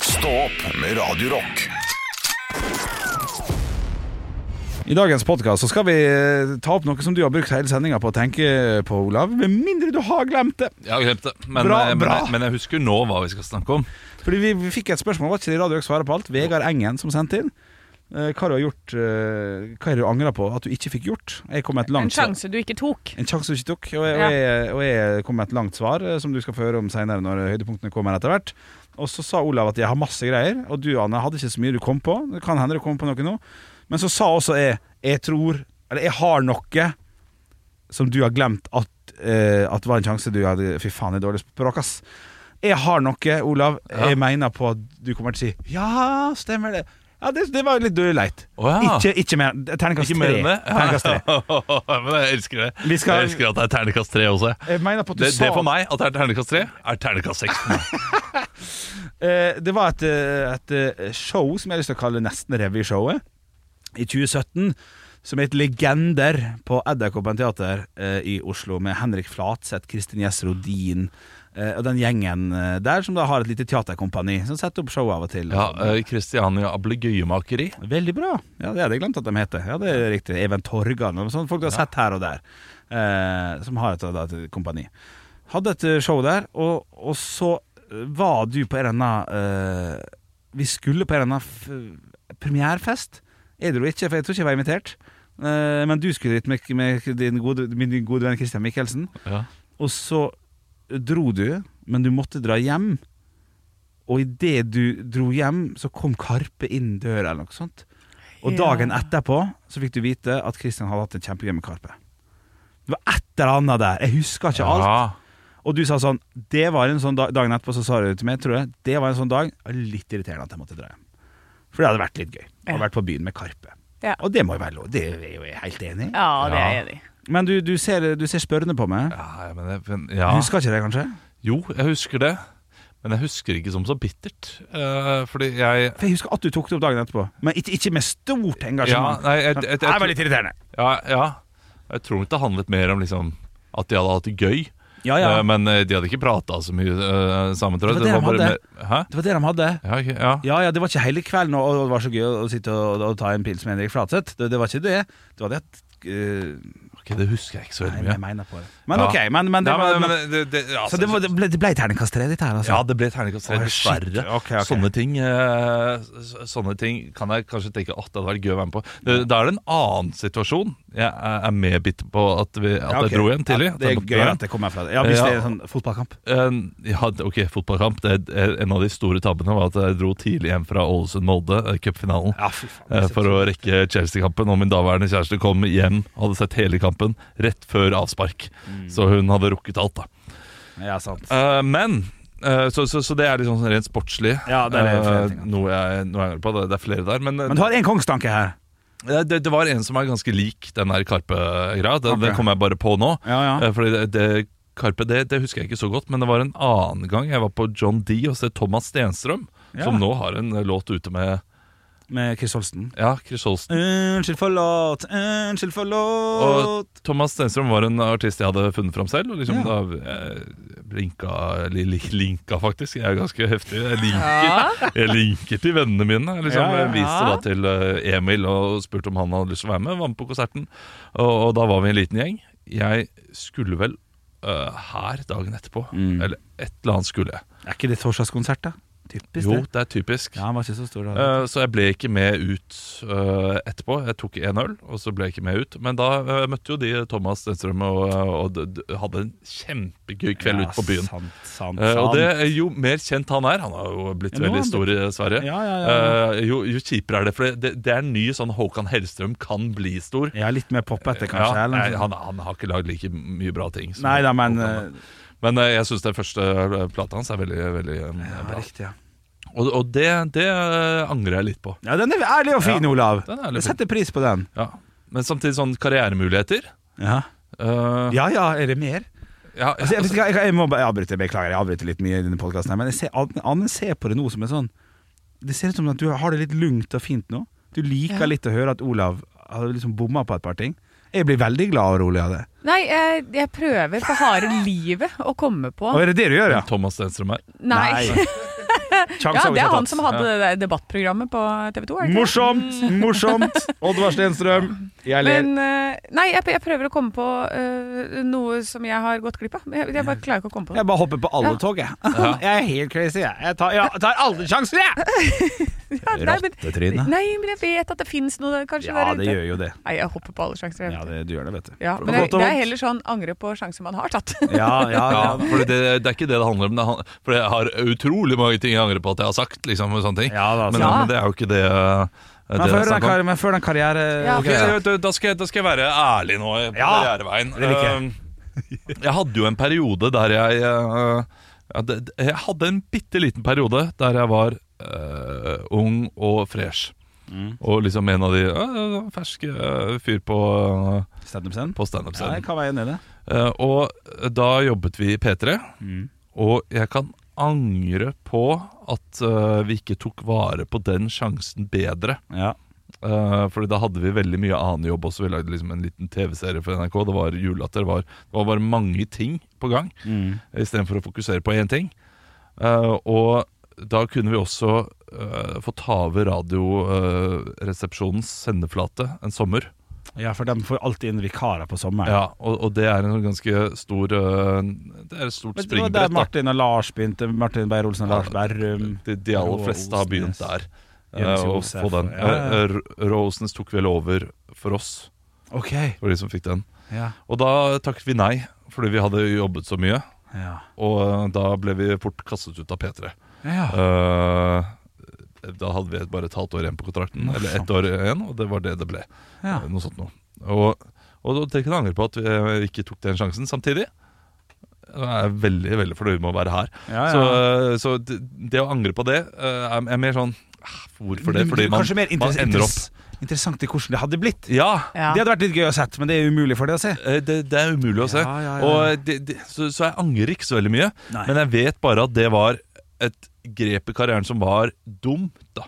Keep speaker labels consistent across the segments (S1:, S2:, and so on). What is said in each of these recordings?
S1: Stå opp med Radio Rock.
S2: I dagens podkast skal vi eh, ta opp noe som du har brukt hele sendinga på å tenke på, Olav. Med mindre du har glemt det.
S3: Jeg har glemt det, men, eh,
S2: Bra,
S3: men-
S2: bra.
S3: men jeg husker nå hva vi skal snakke om.
S2: Fordi vi, vi fikk et spørsmål, var ikke det Radio Rock svarer på alt? Vegard Engen som sendte inn. Eh, Hva, har du gjort, eh, hva er det du angrer på at du ikke fikk gjort? Jeg kom med et
S4: En
S2: langt svar.
S4: sjanse du ikke tok.
S2: En sjanse du ikke tok. Og jeg, og, jeg, og jeg kom med et langt svar, eh, som du skal få høre om seinere når eh, høydepunktene kommer etter hvert. Og så sa Olav at jeg har masse greier, og du Anne hadde ikke så mye du kom på. Det kan hende du kommer på noe nå. Men så sa også jeg jeg tror, eller jeg har noe som du har glemt at, eh, at var en sjanse du hadde Fy faen, jeg er dårlig på språk, ass. Jeg har noe, Olav,
S3: Ja.
S2: jeg mener på at du kommer til å si ja, stemmer det. Ja, det, det var litt død leit.
S3: Å, ja.
S2: Ikke, ikke mer. Terningkast
S3: Ikke mer
S2: tre.
S3: enn det?
S2: Terningkast tre.
S3: men jeg elsker
S2: Vi
S3: det.
S2: skal-
S3: Jeg elsker at det er terningkast tre også.
S2: Jeg mener på at du
S3: Det,
S2: sa
S3: det for meg, at det er terningkast tre, er terningkast seks. for meg.
S2: Eh, Det var et, eh, et eh, show som jeg har lyst til å kalle Nesten Revy-showet, i 2017. Som het Legender på Edderkoppen teater eh, i Oslo, med Henrik Flatseth, Kristin Gjess Rodin eh, og den gjengen eh, der som da har et lite teaterkompani som setter opp show av og til.
S3: Ja, eh, Christiania Ablegøyemakeri.
S2: Veldig bra. Ja, Det hadde jeg glemt at de heter. Ja, det er riktig. Even Torgan og sånn. Folk du har sett her og der, eh, som har et, da, et kompani. Hadde et eh, show der, og, og så eh, var du på en eller annen eh, Vi skulle på en eller annen f eh, premierefest. Jeg dro ikke, for jeg tror ikke jeg var invitert. Eh, men du skulle dit med, med din gode, min gode venn Christian Michelsen.
S3: Ja.
S2: Og så dro du, men du måtte dra hjem. Og idet du dro hjem, så kom Karpe inn døra eller noe sånt. Og
S4: Ja.
S2: dagen etterpå så fikk du vite at Kristian hadde hatt en kjempegøy med Karpe. Det var et eller annet der. Jeg husker ikke alt.
S3: Ja.
S2: Og du sa sånn Det var en sånn dag Dagen etterpå så sa du til meg, tror jeg, det var en sånn dag Litt irriterende at jeg måtte dra hjem. For det hadde vært litt gøy. Å
S4: Ja.
S2: vært på byen med Karpe.
S4: Ja.
S2: Og det må jo være lov. Det er jo jeg helt enig i.
S4: Ja, det er
S3: Ja.
S4: jeg enig i.
S2: Men du, du, ser, du ser spørrende på meg.
S3: Ja, ja, men jeg, men, ja.
S2: Jeg Husker ikke det, kanskje?
S3: Jo, jeg husker det. Men jeg husker ikke som så bittert. eh, fordi jeg
S2: For Jeg husker at du tok det opp dagen etterpå, men ikke, ikke med stort
S3: Ja,
S2: engasjement.
S3: nei, jeg, jeg, jeg,
S2: det var litt irriterende.
S3: ja, ja. jeg tror nok det handlet mer om liksom, at de hadde hatt det gøy.
S2: Ja, ja.
S3: Eh, Men eh, de hadde ikke prata så mye eh, sammen, tror jeg.
S2: Det var det de
S3: bare mer- Hæ?
S2: Det var det de hadde.
S3: Ja, ok, ja.
S2: Ja, ja, Det var ikke hele kvelden, og og det var så gøy å sitte og, og ta en pils med Henrik Flatseth. Det, det var ikke det. Du hadde et eh,
S3: Ok, det husker jeg ikke så
S2: Nei,
S3: veldig
S2: men
S3: mye.
S2: jeg mener på det. Men
S3: Ja.
S2: ok, men, men, det,
S3: Nei,
S2: var,
S3: men- men det- det- ja,
S2: Så det, var, det ble, det ble terningkast tre, ditt her, altså?
S3: ja, det ble terningkast tre,
S2: Å, shit.
S3: dessverre.
S2: Ok, ok.
S3: Sånne ting eh, så- sånne ting kan jeg kanskje tenke at det hadde vært gøy å være med på. Det- Da er det en annen situasjon. Jeg er er mer bitter på at, vi, at
S2: Ja, ok.
S3: jeg dro hjem tidlig.
S2: Ja, det
S3: at
S2: er
S3: jeg dro
S2: gøy
S3: hjem.
S2: at det kommer fra det. Ja, Hvis
S3: Ja.
S2: det er en sånn fotballkamp.
S3: Eh, ja, det- ok, fotballkamp. Det er en av de store tabbene var at jeg dro tidlig hjem fra Ålesund-Molde, eh, cupfinalen.
S2: Ja, fy faen.
S3: eh, For å rekke Chelsea-kampen. Og min daværende kjæreste kom hjem, hadde sett hele kampen, rett før avspark. Så hun hadde rukket alt, da.
S2: Mm. Ja, sant.
S3: Eh, men eh, så, så, så det er liksom sånn rent sportslig.
S2: Ja, det er det flere
S3: eh,
S2: ting, altså.
S3: noe, jeg, noe jeg angrer på. Det, det er flere der. Men, eh,
S2: Men du har en kongstanke her.
S3: eh, det, det var en som er ganske lik den her Karpe-greia. Det, det
S2: Ok.
S3: kom jeg bare på nå.
S2: Ja, ja.
S3: Eh, fordi det, det Karpe det, det husker jeg ikke så godt, men det var en annen gang jeg var på John D og så Thomas Stenstrøm,
S2: Ja.
S3: som nå har en eh, låt ute med
S2: Med Chris Holsten.
S3: Ja, Chris Holsten.
S2: Unnskyld for låt, unnskyld for låt.
S3: Og Thomas Stenstrøm var en artist jeg hadde funnet fram selv. Og liksom
S2: Ja.
S3: da eh, linka, li, li, linka faktisk. Jeg er ganske heftig. Jeg linker, jeg linker til vennene mine. Jeg Liksom.
S2: Ja, ja.
S3: Jeg viste da til eh, Emil og spurte om han hadde lyst til å være med. Var med på konserten. Og, og da var vi en liten gjeng. Jeg skulle vel eh, her dagen etterpå.
S2: Mm.
S3: Eller et eller annet skulle jeg.
S2: Er ikke det torsdagskonsert, da? Typisk
S3: Jo,
S2: det.
S3: det er typisk.
S2: Ja, han var ikke så stor da.
S3: Eh, Så jeg ble ikke med ut eh, etterpå. Jeg tok en øl, og så ble jeg ikke med ut. Men da eh, møtte jo de Thomas Stenstrøm og, og d- d- hadde en kjempegøy kveld
S2: Ja,
S3: ute på byen.
S2: Sant, sant,
S3: Eh, og
S2: sant.
S3: det, er jo mer kjent han er Han har jo
S2: Ja,
S3: blitt
S2: nå har
S3: veldig
S2: han
S3: stor i Sverige.
S2: Ja, ja, ja.
S3: eh, jo, jo kjipere er det, for det, det, det er en ny sånn Håkan Hellstrøm kan bli stor.
S2: Ja, litt mer poppete, kanskje.
S3: Ja,
S2: eller noe
S3: nei,
S2: sånt.
S3: han, han har ikke lagd like mye bra ting. som
S2: Nei da, men
S3: Håkan,
S2: eh,
S3: Men eh, jeg syns den første eh, plata hans er veldig, veldig eh,
S2: ja,
S3: bra.
S2: Riktig, ja.
S3: Og, og det, det eh, angrer jeg litt på.
S2: Ja, den er ærlig og fin,
S3: Ja,
S2: Olav.
S3: den er ærlig og
S2: Jeg setter pris på den.
S3: Ja, Men samtidig sånn karrieremuligheter.
S2: Ja
S3: Eh,
S2: ja, ja er det mer?
S3: ja,
S2: Altså, jeg,
S3: altså,
S2: jeg, jeg må bare avbryte, beklager, jeg avbryter litt mye i denne podkasten, men jeg ser, Anne- Anne ser på det nå som en sånn Det ser ut som at du har det litt lugnt og fint nå. Du liker
S4: Ja.
S2: litt å høre at Olav har liksom bomma på et par ting. Jeg blir veldig glad og rolig av det.
S4: Nei, jeg, jeg prøver på harde livet å komme på.
S2: Og er det det du gjør, ja?
S3: Thomas Stenstrøm her.
S4: Nei.
S2: Kjangs
S4: Ja,
S2: har vi ikke
S4: det er han
S2: tatt.
S4: som hadde det der debattprogrammet på TV 2.
S2: Morsomt! Morsomt! Oddvar Stenstrøm, jeg ler.
S4: Men eh, Nei, jeg, jeg prøver å komme på eh, noe som jeg har gått glipp av. Jeg, jeg bare klarer ikke å komme på det.
S2: Jeg bare hopper på alle
S4: Ja.
S2: tog, jeg. Jeg er helt crazy, jeg. Jeg tar, ja, tar alle sjanser, jeg!
S4: Ja, nei, men,
S2: Rottetryne.
S4: nei, men jeg vet at det fins noe
S2: Ja,
S4: kanskje der
S2: det
S4: ute.
S2: gjør jo det.
S4: Nei, jeg hopper på alle sjanser. Jeg
S2: Ja,
S4: vet.
S2: det du gjør det, vet du.
S4: Ja, men
S2: Godt
S4: jeg,
S2: og
S4: det er
S2: vondt.
S4: heller sånn angre på sjanser man har tatt.
S2: Ja, ja,
S3: Ja,
S2: ja.
S3: for det, det er ikke det det handler om. Det han- for jeg har utrolig mange ting jeg angrer på at jeg har sagt. Liksom, og sånne ting
S2: Ja, da,
S3: men,
S2: så-
S3: men det er jo ikke det, eh, det
S2: Men
S3: det er
S2: før den,
S3: snakk om.
S2: kar men før den karriere...
S4: Ja.
S3: Ok, da- da, skal jeg, da skal jeg være ærlig nå eh, på
S2: Ja,
S3: karriereveien.
S2: det liker jeg.
S3: Um, Jeg hadde jo en periode der jeg uh, ja, det- det- Jeg hadde en bitte liten periode der jeg var uh, ung og fresh.
S2: Mm.
S3: Og liksom en av de uh, ferske uh, fyr på, uh,
S2: Standup-scenen? Ja,
S3: på standup-scenen.
S2: jeg kan veie ned det.
S3: Eh, og da jobbet vi i P3,
S2: Mm.
S3: og jeg kan angre på at eh, vi ikke tok vare på den sjansen bedre.
S2: Ja.
S3: Uh, fordi da hadde vi veldig mye annen jobb også. Vi lagde liksom en liten TV-serie for NRK. Det var julelatter. Det var, det var bare mange ting på gang
S2: Mm.
S3: istedenfor å fokusere på én ting. Eh, og da kunne vi også eh, få ta over Radioresepsjonens sendeflate en sommer.
S2: ja, for de får alltid inn vikarer på sommeren.
S3: Ja, og, og det er en sånn ganske stor eh, Det er et stort
S2: Men Det var der
S3: springbrett. da.
S2: Martin og Lars begynte. Martin Beyer-Olsen og Lars Berrum.
S3: De, de aller
S2: Roa
S3: fleste har begynt der.
S2: Osnes,
S3: eh,
S2: Jens
S3: å
S2: Josef,
S3: få den.
S2: ja, ja.
S3: Eh, R- Roa Osnes tok vel over for oss.
S2: Ok.
S3: Det var de som fikk den.
S2: Ja.
S3: Og da takket vi nei, fordi vi hadde jobbet så mye.
S2: Ja.
S3: Og eh, da ble vi fort kastet ut av P3.
S2: ja.
S3: Eh, da hadde vi bare et halvt år igjen på kontrakten, eller ett år igjen, og det var det det ble.
S2: Ja.
S3: Eh, Noe sånt noe. Og, og da tenker jeg angre på at vi eh, ikke tok den sjansen samtidig. Jeg er veldig veldig fornøyd med å være her.
S2: Ja, ja.
S3: Så, eh, så det, det å angre på det eh, er, er mer sånn ah, Hvorfor det? Fordi man,
S2: Kanskje mer
S3: man
S2: interess
S3: ender opp
S2: interess interessant i hvordan det hadde blitt.
S3: Ja!
S4: Ja.
S2: Det hadde vært litt gøy å sett, men det er umulig for det å se.
S3: Eh, Det, det er umulig å se.
S2: Ja, ja, ja.
S3: Og det, det, så, så jeg angrer ikke så veldig mye.
S2: Nei.
S3: Men jeg vet bare at det var et grep i karrieren som var dumt, da.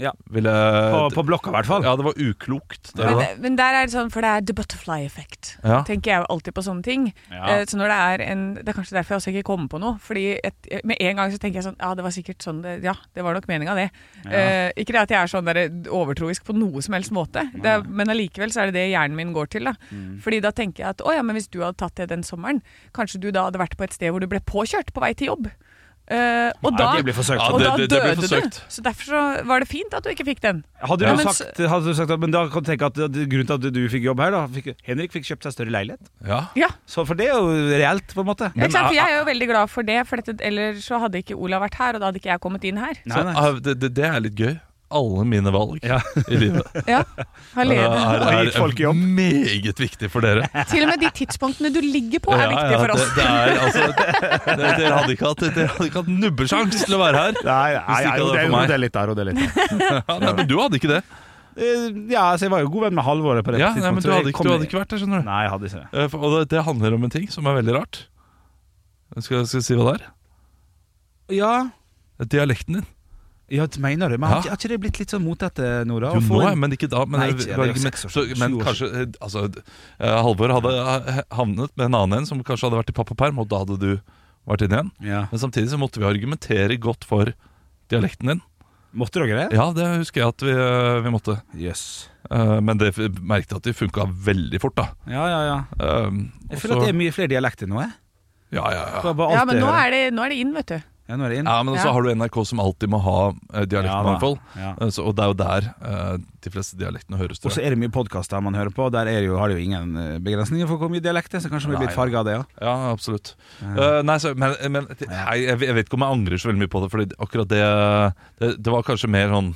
S2: Ja.
S3: Ville,
S2: På, på blokka, i hvert fall.
S3: Eh, Ja, det var uklokt. Der, og da.
S4: Men, men der er det sånn, for det er the butterfly effect.
S3: Ja.
S4: Tenker jeg jo alltid på sånne ting.
S2: Ja.
S4: Eh, Så når det er en Det er kanskje derfor jeg også ikke kommer på noe. Fordi et, med en gang så tenker jeg sånn Ja, det var sikkert sånn det, Ja, det var nok meninga, det. Eh, ikke det at jeg er sånn der overtroisk på noe som helst måte, det, er- men allikevel så er det det hjernen min går til. da Fordi da tenker jeg at å ja, men hvis du hadde tatt det den sommeren, kanskje du da hadde vært på et sted hvor du ble påkjørt på vei til jobb. Eh, og
S2: Nei,
S4: da,
S2: det blir forsøkt.
S3: Ja,
S4: og
S3: det-
S4: da
S3: det- det blir
S4: døde du.
S3: forsøkt.
S4: Så derfor så var det fint at du ikke fikk den.
S2: Hadde,
S4: Ja,
S2: du
S4: men
S2: sagt, hadde du sagt at- Men da kan du tenke at det- grunnen til at du fikk jobb her, da fikk, Henrik fikk kjøpt seg større leilighet.
S3: Ja.
S4: Ja
S2: Så for det er jo reelt, på en måte.
S4: Ja, ikke sant? For
S3: ah,
S4: jeg er jo veldig glad for det, for dette, ellers så hadde ikke Olav vært her, og da hadde ikke jeg kommet inn her.
S2: Nei,
S3: Så,
S2: nei.
S3: ah, det, det, det er litt gøy. Alle mine valg
S2: Ja.
S3: i livet
S4: Ja,
S3: er,
S4: alene.
S3: er,
S2: Og gitt folk jobb.
S3: meget viktig for dere.
S4: Til og med de tidspunktene du ligger på,
S3: Ja,
S4: er viktige
S3: ja,
S4: for
S3: Det,
S4: oss.
S3: det er, altså, det, dere hadde ikke hatt, dere hadde ikke hatt nubbesjans til å være her.
S2: Nei,
S3: Hvis ikke det er for meg.
S2: rodell litt der, rodell litt der.
S3: Ja, nei, men du hadde ikke det.
S2: Eh, Ja, så jeg var jo god venn med Halvor på det
S3: Ja, nei, men du
S2: så jeg
S3: hadde ikke,
S2: kom-
S3: du hadde ikke vært der, skjønner du.
S2: Nei, jeg hadde ikke det.
S3: Eh, for- Og det, det handler om en ting som er veldig rart. Jeg Skal, skal jeg si hva det er?
S2: Ja,
S3: Det er Dialekten din.
S2: ja det mener du. Men
S3: Ja.
S2: har, ikke- har ikke det blitt litt sånn motete, Nora?
S3: Jo,
S2: å få
S3: nå,
S2: en-
S3: men ikke da. Men,
S2: Nei, ikke- ja, det er jo
S3: men,
S2: seks år
S3: så,
S2: siden,
S3: men
S2: sju år
S3: kanskje eh, altså, eh, Halvor hadde eh, havnet med en annen en som kanskje hadde vært i pappaperm, og da hadde du vært inne igjen.
S2: ja.
S3: Men samtidig så måtte vi argumentere godt for dialekten din.
S2: Måtte dere det?
S3: Ja, det husker jeg at vi, eh, vi måtte.
S2: Jøss.
S3: Eh, Men det f- merket jeg at de funka veldig fort, da.
S2: Ja, ja, ja.
S3: Eh,
S2: Jeg
S3: og
S2: føler
S3: så-
S2: at det er mye flere dialekter nå, jeg.
S3: ja, ja, ja.
S2: Bare- bare
S4: Ja,
S2: alt
S4: men
S2: det
S4: nå
S2: her.
S4: er det, nå er det inn, vet du.
S2: Ja, nå er det inn.
S3: ja, men så
S4: Ja.
S3: har du NRK som alltid må ha eh, dialektmangfold.
S2: Ja, da.
S3: Eh, Så, og det er jo der eh, de fleste dialektene høres.
S2: Og så
S3: Tror jeg.
S2: er det mye podkaster man hører på, og der er det jo, har de jo ingen eh, begrensninger for hvor mye dialekt det er, så kanskje vi blir
S3: Nei,
S2: litt farga av det, ja.
S3: Ja, absolutt. Eh, nei, så, men men nei, jeg, jeg vet ikke om jeg angrer så veldig mye på det, Fordi akkurat det Det, det var kanskje mer sånn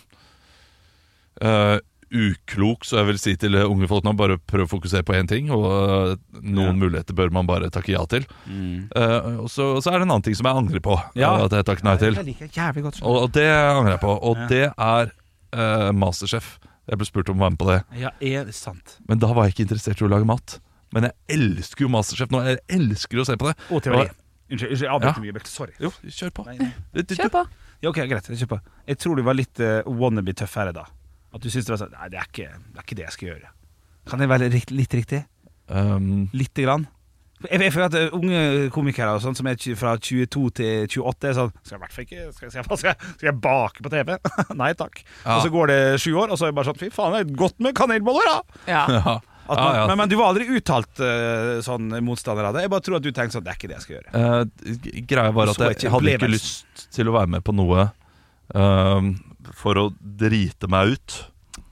S3: eh, uklok, så jeg vil si til unge folk nå, bare prøv å fokusere på én ting, og eh, noen muligheter bør man bare takke ja til.
S2: Mm.
S3: Eh, og, så, og så er det en annen ting som jeg angrer på,
S2: Ja.
S3: eh, at jeg takket nei til.
S2: Jeg liker jævlig godt
S3: Og, og det angrer jeg på, og
S2: Ja.
S3: det er eh, Masterchef. Jeg ble spurt om å være med på det.
S2: Ja, er det sant?
S3: Men da var jeg ikke interessert i å lage mat. Men jeg elsker jo Masterchef nå. Jeg elsker å se på det.
S2: Og teori.
S3: Ja.
S2: Unnskyld, unnskyld, jeg avbryter mye. beklager. Sorry.
S3: Jo, kjør på.
S2: Nei, nei.
S3: Du- du-
S4: Kjør på.
S2: Ja, ok, greit. Jeg kjøper. Jeg tror du var litt eh, wannabe tøffere da. At du syntes det var sånn Nei, det er ikke det, er ikke det jeg skal gjøre. Kan jeg være litt, litt riktig?
S3: Um,
S2: Lite grann? Jeg jeg føler at eh, unge komikere og sånt, som er tj- fra 22 til 28 er sånn Skal jeg i hvert fall ikke skal, jeg- skal, jeg, skal jeg bake på TV? Nei takk.
S3: Ja.
S2: Og så går det sju år, og så er det bare sånn Fy faen, det er godt med kanelboller, da!
S4: Ja.
S3: Ja.
S2: At
S3: Ja,
S2: man,
S3: ja.
S2: Men, men du var aldri uttalt eh, sånn motstander av det. Jeg bare tror at du tenkte sånn Det er ikke det jeg skal gjøre.
S3: Eh, g- greia var at
S2: Så
S3: jeg,
S2: ikke
S3: hadde
S2: ble
S3: ikke
S2: det.
S3: lyst til å være med på noe eh, for å drite meg ut.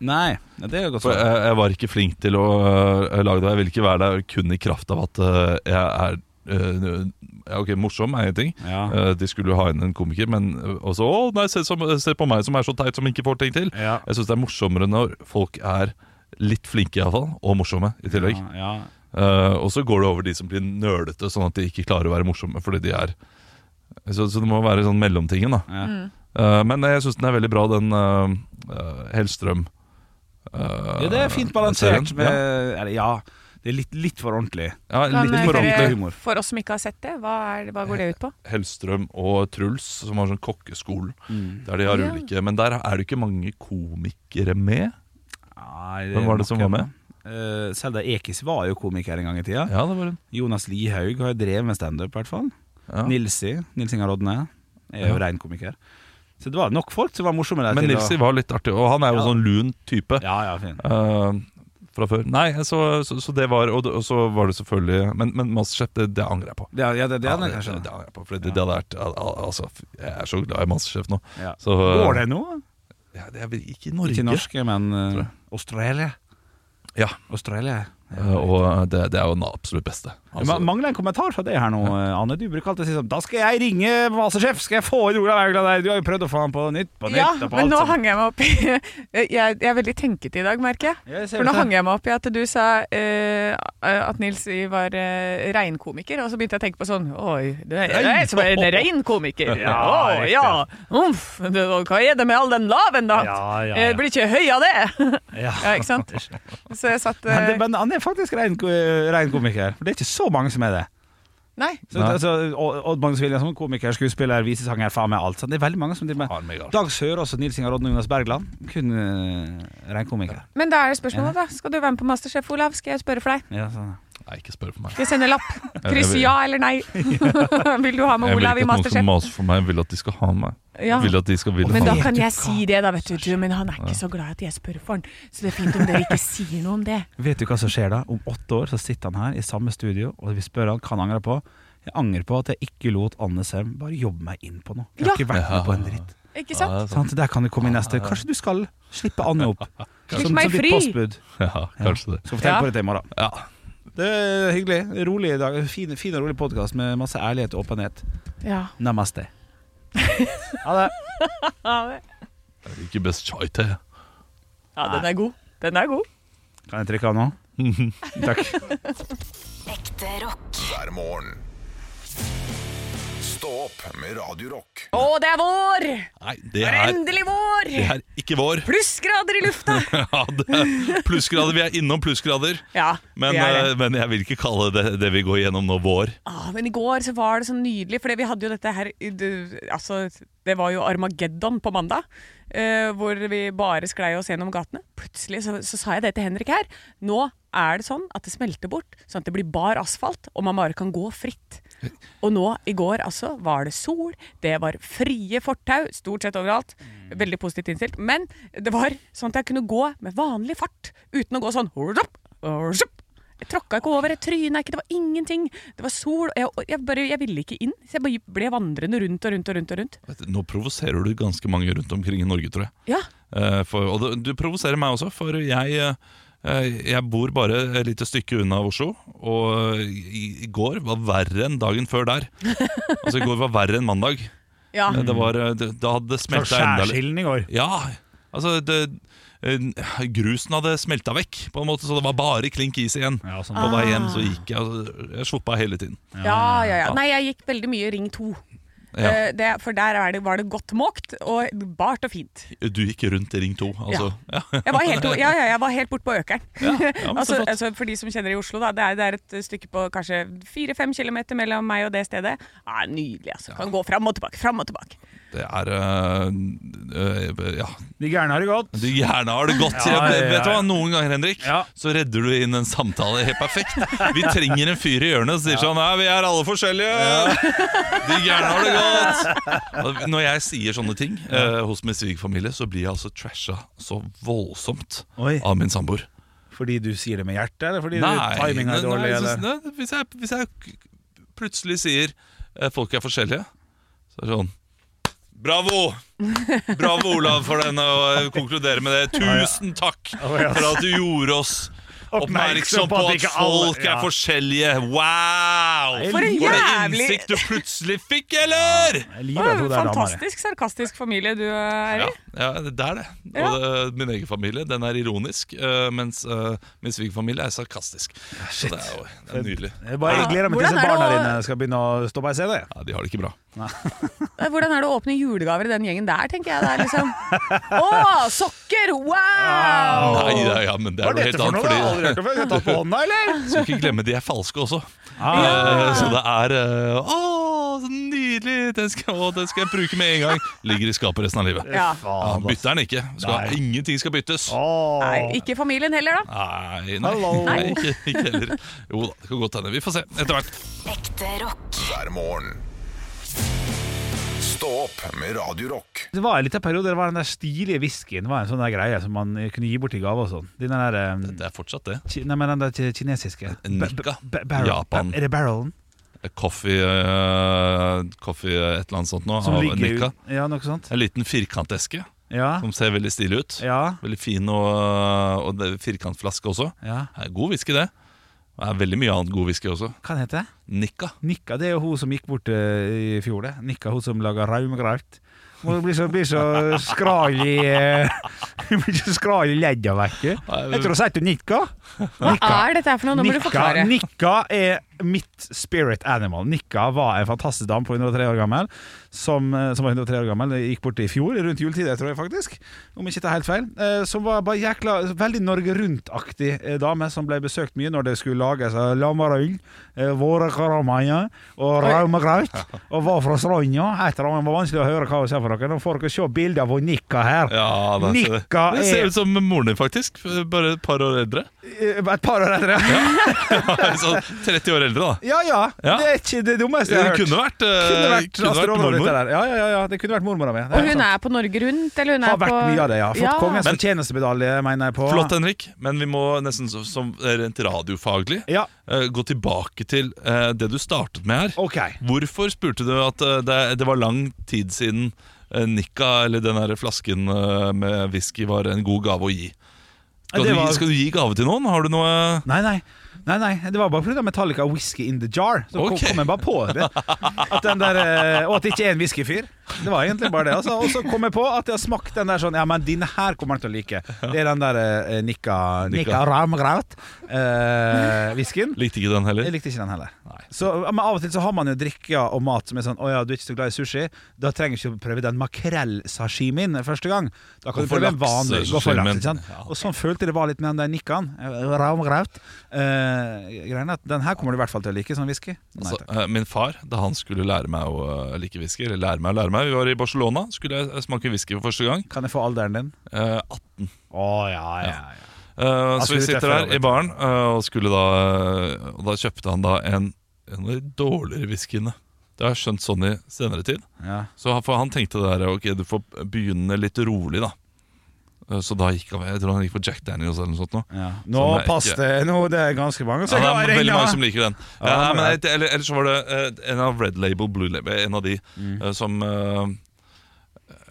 S2: Nei, det er jo godt
S3: For jeg, jeg var ikke flink til å eh, lage det. og Jeg ville ikke være der kun i kraft av at eh, jeg er eh, ja, Ok, morsom er én ting.
S2: Ja.
S3: Eh, de skulle jo ha inn en komiker, men eh, også Å, nei, se, som, se på meg som er så teit som ikke får ting til.
S2: Ja.
S3: Jeg syns det er morsommere når folk er litt flinke, iallfall. Og morsomme, i tillegg.
S2: Ja, ja.
S3: Eh, og så går det over de som blir nølete, sånn at de ikke klarer å være morsomme fordi de er Så, så det må være sånn mellomtingen, da.
S2: Ja.
S3: Eh, men jeg syns den er veldig bra, den eh, eh, Hellstrøm. eh,
S2: Ja, det er fint balansert
S3: serien.
S2: med Eller ja, det er litt, litt for ordentlig.
S3: Ja, ja
S4: Men,
S3: litt
S4: eh,
S3: for
S2: ordentlig
S4: dere-
S2: humor.
S4: For oss som ikke har sett det, hva, er, det- hva går det ut på?
S3: Hellstrøm og Truls, som har sånn kokkeskolen. Der de har
S4: Ja.
S3: ulike Men der er det ikke mange komikere med.
S2: Nei,
S3: Hvem var det som var med?
S2: Uh, Selda Ekiz var jo komiker en gang i tida.
S3: Ja, det var en
S2: Jonas Lihaug har jo drevet med standup, i hvert fall.
S3: ja.
S2: Nilsi, Nils Ingar Odne, er jo
S3: Ja.
S2: rein komiker. Så det var nok folk som var morsomme der.
S3: Men
S2: til å-
S3: Nilsi var litt artig, og han er jo
S2: Ja.
S3: sånn lun type.
S2: Ja, ja, fin.
S3: Eh, fra før. Nei, så, så, så det var Og, og så var det selvfølgelig Men, men Masterchef, det, det angrer jeg på.
S2: Det, ja, det, det,
S3: Ja,
S2: er det kanskje.
S3: det angrer jeg på, fordi det, det hadde vært al- al- Altså, f- jeg er så glad i Masterchef nå.
S2: Ja.
S3: Så,
S2: Går det nå?
S3: Ja, det er vel ikke i Norge.
S2: Ikke norske, men eh,
S3: Tror jeg.
S2: Australia.
S3: Ja,
S2: Australia.
S3: eh, og det, det er jo den absolutt beste. Altså,
S2: Ma- mangler en kommentar fra det her nå, eh, Anne. Du bruker alltid å si sånn Da skal jeg ringe Masterchef! Skal jeg få inn Olav Haugland der? Du har jo prøvd å få han på nytt på nytt.
S4: Ja,
S2: og på
S4: men
S2: alt
S4: nå
S2: sånt.
S4: hang jeg meg opp i jeg, jeg er veldig tenkete i dag, merker jeg.
S2: Ja, jeg ser
S4: For nå
S2: det.
S4: hang jeg meg opp i at du sa eh, at Nils I var eh, reinkomiker, og så begynte jeg å tenke på sånn Oi, det er jeg som er en reinkomiker.
S2: Ja,
S4: Å, ja. Umf, det- hva er det med all den laven, da?
S2: Ja, ja, ja.
S4: Jeg Eh, blir ikke høy av det.
S2: Ja.
S4: ja, ikke sant? Så jeg satt
S2: Men,
S4: eh,
S2: det, men han er faktisk rein, ko- eh, rein komiker. For det er ikke så mange som er det.
S4: Nei.
S2: Så,
S3: Nei.
S2: altså, Odd Odd Magnus Williamson, komiker, skuespiller, visesanger, faen meg alt. Så det er veldig mange som driver med
S3: har meg alt.
S2: Dag Sørås og Nils Ingar Odne og Jonas Bergland. Kun uh, rein komiker.
S4: Men da er det spørsmålet, da. Skal du være med på Masterchef, Olav? Skal jeg spørre for deg?
S2: Ja, sånn.
S3: Nei, ikke spør for meg.
S4: Skal jeg sende lapp? Kryss ja eller nei. Vil du ha med
S3: Jeg vil
S4: Olav
S3: ikke at noen
S4: i
S3: som
S4: Masterchef?
S3: maser for meg, vil at de skal ha meg.
S4: Ja.
S3: Vil at de skal ville
S4: Men
S3: ha
S4: da
S3: meg.
S4: kan jeg si det, da, vet du. du. Men han er ikke så glad i at jeg spør for han. Så det er fint om dere ikke sier noe om det.
S2: Vet du hva som skjer da? Om åtte år så sitter han her i samme studio, og vi spør han hva han angrer på. Jeg angrer på at jeg ikke lot Anne Sem bare jobbe meg inn på noe. Jeg har
S4: Ja.
S2: ikke vært med på en dritt.
S4: Ikke
S3: Ja,
S4: sant?
S3: det er sant.
S2: Sant? Der kan du komme i neste. Kanskje du skal slippe Anne opp?
S4: Slipp meg
S2: ditt
S4: fri.
S2: postbud.
S3: Ja, kanskje det.
S2: Så fortell
S4: Ja.
S2: på dette i morgen.
S3: Ja.
S2: Det er hyggelig. Rolig i dag. Fin, fin og rolig podkast med masse ærlighet og åpenhet.
S4: Ja.
S2: Namaste. Ha det.
S3: Jeg liker best chai te.
S4: ja, den er god. Den er god.
S2: Kan jeg trykke av nå? Takk.
S5: Ekte rock.
S1: hver morgen. Stå opp med Radio Rock.
S4: Å, det er vår!
S3: Nei, det
S4: Det er
S3: er,
S4: endelig vår!
S3: det er ikke vår.
S4: Plussgrader i lufta!
S3: Ja, det er plussgrader. Vi er innom plussgrader.
S4: Ja,
S3: Men,
S4: det er det.
S3: eh, men jeg vil ikke kalle det det vi går gjennom nå, vår.
S4: Ah, men i går så var det så nydelig, for vi hadde jo dette her i- du- Altså, det var jo Armageddon på mandag, eh, hvor vi bare sklei oss gjennom gatene. Plutselig så, så sa jeg det til Henrik her. Nå er det sånn at det smelter bort, sånn at det blir bar asfalt, og man bare kan gå fritt. Og nå i går altså var det sol, det var frie fortau stort sett overalt. Veldig positivt innstilt. Men det var sånn at jeg kunne gå med vanlig fart, uten å gå sånn «Hurrup, hurrup». Jeg tråkka ikke over, jeg tryna ikke, det var ingenting. Det var sol, og jeg, og jeg, bare, jeg ville ikke inn. Så jeg bare ble vandrende rundt og rundt og rundt. og rundt.
S3: Vet du, Nå provoserer du ganske mange rundt omkring i Norge, tror jeg.
S4: Ja,
S3: Eh, For, og du- du provoserer meg også, for jeg, eh, eh, jeg bor bare et lite stykke unna Oslo. Og i, i går var verre enn dagen før der. Altså i går var verre enn mandag.
S4: ja.
S3: Eh, Det var, eh, det, da hadde det smelta enda litt.
S2: Skjærsilden i går.
S3: Ja, altså det, eh, Grusen hadde smelta vekk, på en måte, så det var bare klink is igjen.
S2: Ja, sånn.
S4: Ah.
S3: På vei hjem så gikk jeg altså, Jeg sluppa hele tiden.
S4: Ja, ja, ja. Nei, jeg gikk veldig mye Ring 2.
S3: Ja.
S4: Eh, Det, for der er det, var det godt måkt og bart og fint.
S3: Du gikk rundt i ring to, altså. Ja.
S4: Jeg var helt, ja, ja, jeg var helt bort på Økeren.
S3: men så
S4: altså,
S3: flott.
S4: altså, for de som kjenner i Oslo, da, det, er, det er et stykke på kanskje 4-5 km mellom meg og det stedet. Ja, nydelig, altså. Kan gå fram og tilbake, fram og tilbake.
S3: Det er øh, øh, Ja.
S2: De gærne har det godt.
S3: Du gjerne har det godt.
S2: Ja, ja,
S3: Jeg-
S2: ja.
S3: Vet du hva, Noen ganger Henrik
S2: Ja.
S3: Så redder du inn en samtale helt perfekt. Vi trenger en fyr i hjørnet som sier sånn Nei, vi er alle forskjellige. De gjerne har det godt. Når jeg sier sånne ting eh, hos min svigerfamilie, så blir jeg altså trasha så voldsomt
S2: Oi.
S3: av min samboer.
S2: Fordi du sier det med hjertet, eller fordi timinga er
S3: nei,
S2: dårlig?
S3: jeg synes-
S2: Eller?
S3: nei, hvis, jeg, hvis jeg k- plutselig sier eh, folk er forskjellige, så er det sånn Bravo! Bravo, Olav, for den, og jeg konkluderer med det. Tusen takk for at du gjorde oss oppmerksom på at
S2: ikke alle-
S3: folk er
S2: ja.
S3: forskjellige. Wow!
S2: Nei,
S4: For en
S3: For en
S4: jævlig
S3: innsikt du plutselig fikk, eller?!
S2: Jeg liker at hun der dama er det.
S4: Fantastisk sarkastisk familie du eh, er i.
S3: Ja, ja, det er det. Og det, min egen familie den er ironisk, eh, mens eh, min svigerfamilie er sarkastisk. Så det er, jo, det er nydelig.
S2: Jeg bare gleder meg til disse
S4: Hvordan er det
S2: barna
S4: å-
S2: dine skal begynne å stå på ei CD.
S3: Ja, de har det ikke bra.
S4: Eh, Hvordan er det å åpne julegaver i den gjengen der, tenker jeg. Det er liksom Å, sokker! Wow!
S3: Nei, ja, ja, men det er
S2: Hva er
S3: noe
S2: dette
S3: helt
S2: for
S3: annet.
S2: noe? Jeg har
S3: Fordi,
S2: aldri hørt om før. Skal jeg ta på hånda, eller?
S3: skal ikke glemme, de er falske også.
S2: Ah,
S3: Eh, Så det er eh, Å, så nydelig! Den skal, å, den skal jeg bruke med en gang. Ligger i skapet resten av livet.
S4: Ja.
S3: Ja,
S2: faen, ass.
S3: bytter den ikke. Skal,
S2: Nei.
S3: ingenting skal byttes.
S2: Åh.
S4: Nei, ikke familien heller, da.
S3: Nei, nei,
S2: Hallo.
S3: nei ikke, ikke heller. Jo da, det kan godt hende. Vi får se etter hvert.
S5: Ekte rock.
S1: hver morgen. Stå opp med Radio Rock.
S2: Det var en liten periode der det var den der stilige whiskyen var en sånn der greie som man kunne gi bort i gave og sånn. Den der, eh,
S3: Det er fortsatt det.
S2: ki- nei, men den der ki- kinesiske.
S3: Nikka.
S2: Ba- ba- barrel.
S3: Japan.
S2: Ba- Er det barrelen?
S3: Coffee, eh, coffee et eller annet sånt nå.
S2: Som
S3: av
S2: ligger
S3: Nikka.
S2: ut- Ja, noe sånt.
S3: En liten firkanteske
S2: Ja.
S3: som ser veldig stilig ut.
S2: Ja.
S3: Veldig fin og, og det er firkantflaske også.
S2: ja.
S3: Det er god whisky, det. Det er veldig mye annet god whisky også.
S2: Hva heter det?
S3: Nikka.
S2: Nikka, det er jo hun som gikk bort eh, i fjor, det. Nikka, hun som laga raumgraut. Hun blir så, blir så skral i eh, Hun blir så skral i ledda, vet du. Jeg tror hun sier til Nikka.
S4: Hva er dette her for noe? Nå må du
S2: Nikka,
S4: forklare.
S2: Nikka er mitt spirit animal. Nikka var en fantastisk dame på 103 år gammel som, eh, som var 103 år gammel. Gikk bort i fjor, rundt juletid, jeg tror jeg faktisk. Om ikke det er helt feil. Eh, Som var bare jækla veldig Norge Rundt-aktig eh, dame som ble besøkt mye når det skulle lages eh, lammerøl, eh, vårekarameier og raumagraut. Og var fra Stranda. Et eller annet var vanskelig å høre hva hun sa for noe. Nå får dere se bilder av hun Nikka her.
S3: Ja, det,
S2: Nikka
S3: det ser
S2: er-
S3: ut som moren din, faktisk. Bare et par år eldre.
S2: Eh, Et par år etter det.
S3: Sånn 30 år eldre, da.
S2: Ja ja,
S3: Ja.
S2: det er ikke det dummeste jeg
S3: Det
S2: har hørt.
S3: kunne vært, eh,
S2: kunne vært,
S3: kunne
S2: Astrid
S3: vært
S2: Aarhus, dette
S3: mormor.
S2: der. Ja, ja, ja, ja, det kunne vært mormora mi. Det
S4: Og hun
S2: sant.
S4: er på Norge Rundt, eller hun er
S2: har vært
S4: på
S2: mye av det, ja. Fått
S4: Ja.
S2: kongens
S3: Men-
S2: fortjenestemedalje, mener jeg på.
S3: Flott, Henrik, men vi må nesten som, som rent radiofaglig
S2: Ja,
S3: eh, gå tilbake til eh, det du startet med her.
S2: ok.
S3: Hvorfor spurte du at eh, det, det var lang tid siden eh, Nikka, eller den her flasken eh, med whisky, var en god gave å gi? Skal,
S2: Det
S3: du, gi-
S2: var-
S3: skal du gi gave til noen? Har du noe eh,
S2: Nei, nei. Nei, nei, Det var bare pga. Metallica Whisky in the Jar. Så kom-
S3: Ok.
S2: kom jeg bare på det. At den der, eh, og at det ikke er en whiskyfyr. Det var egentlig bare det. Altså. Og så kom jeg på at jeg har smakt den der sånn Ja, men denne her kommer han til å like. Det er den der eh, Nikka, Nikka eh, Ramgraut-whiskyen.
S3: Likte ikke den heller?
S2: Jeg likte ikke den heller. Så, men av og til så har man jo drikker og mat som er sånn Å ja, du er ikke så glad i sushi. Da trenger du ikke å prøve den makrell-sashimin første gang. Da
S3: Gå
S2: kan du
S3: for
S2: prøve en vanlig
S3: lakse-sashimin.
S2: gå for laks. ikke sant?
S3: Ja.
S2: Og sånn følte jeg det var litt med den der nikkan. Raumgraut. Eh, greien er at den her kommer du i hvert fall til å like, sånn whisky. Nei,
S3: Altså,
S2: takk.
S3: eh, min far, da han skulle lære meg å eh, like whisky Eller lære meg å lære meg Vi var i Barcelona, skulle jeg eh, smake whisky for første gang.
S2: Kan jeg få alderen din?
S3: Eh, 18.
S2: Å ja, ja, ja.
S3: Eh, så
S2: skulle treffe
S3: vi sitter der
S2: Robert.
S3: i baren, eh, og, skulle da, eh, og da kjøpte han da en, en av de dårligere whiskyene. Det har jeg skjønt sånn i senere tid.
S2: ja.
S3: Så han- for han tenkte det der Ok, du får begynne litt rolig da Eh, Så da gikk han Jeg tror han gikk på Jack Daniels eller noe sånt nå
S2: ja. Nå
S3: Sånn er
S2: pass
S3: ikke-
S2: det! Nå det er ganske mange
S3: ja,
S2: som
S3: det
S2: klarer
S3: er veldig mange som
S2: det.
S3: liker den ja,
S2: Ja,
S3: nei,
S2: men
S3: men et- eller, Ellers så var det eh, en av Red Label, Blue Label En av de
S2: Mm.
S3: eh, som eh,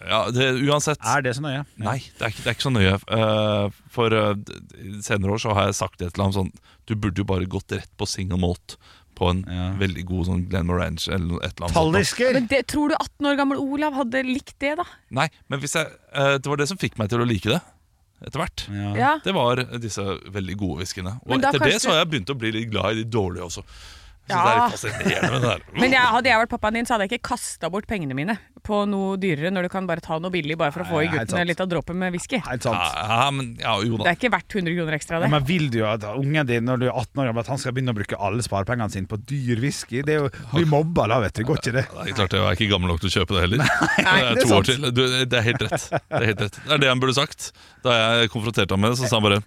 S3: Ja, det, uansett
S2: Er det så nøye?
S3: Nei, det er, ikke- det er ikke så nøye Eh, For eh, d- senere år så har jeg sagt det til ham sånn Du burde jo bare gått rett på single malt På en
S2: Ja.
S3: veldig god sånn Glen Morange Eller noe- et eller annet sånt da.
S2: Tallisker!
S4: Men det, tror du 18 år gammel Olav hadde likt det, da?
S3: Nei, men hvis jeg, eh, det var det som fikk meg til å like det etter hvert.
S2: Ja.
S4: Ja.
S3: Det var disse veldig gode whiskyene. Og
S4: Men da
S3: etter det
S4: kanskje-
S3: så har jeg begynt å bli litt glad i de dårlige også. Så synes det er litt fascinerende med det der.
S4: Men jeg, hadde jeg vært pappaen din, så hadde jeg ikke kasta bort pengene mine på noe dyrere, når du kan bare ta noe billig bare for å få i
S2: Nei, helt
S4: gutten
S2: sant.
S4: en liten dråpe med whisky. Det
S2: Helt sant.
S3: Ja, men ja, jo da.
S4: er ikke verdt 100 kroner ekstra,
S2: Ja,
S4: det.
S2: men vil du jo at ungen din når du er 18 år gammel, at han skal begynne å bruke alle sparepengene sine på dyr whisky? Det er jo, blir mobba da, vet du. Går ikke det?
S3: Det er klart Jeg er ikke gammel nok til å kjøpe det heller.
S2: Nei, det er
S3: det, er to år
S2: sant.
S3: til. Du, det er helt rett. Det er helt rett Det er det han burde sagt. Da jeg konfronterte ham med det, så sa han bare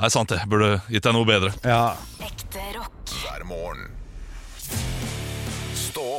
S3: Nei, sant det. Burde gitt deg noe bedre.
S2: Ja.
S5: Ekte rock.
S1: hver morgen. Stå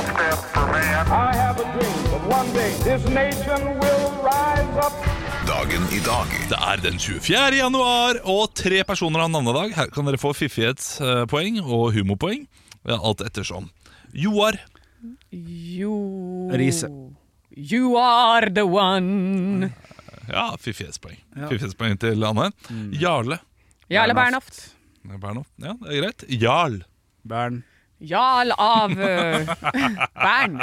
S6: I have a dream that one day this nation will rise up.
S1: Dagen i dag
S3: Det er den 24. januar, og tre personer har navnedag. Her kan dere få fiffighetspoeng og humorpoeng. Ja, alt ettersom. Joar.
S4: Jo
S2: Riise.
S4: You are the one.
S3: Ja, fiffighetspoeng. Fiffighetspoeng til Anne. Jarle.
S4: Jarle
S2: Bernhoft.
S4: Bernhoft.
S3: Bernhoft. Ja, det er greit. Jarl.
S2: Bern.
S4: Jarl av eh, Bern.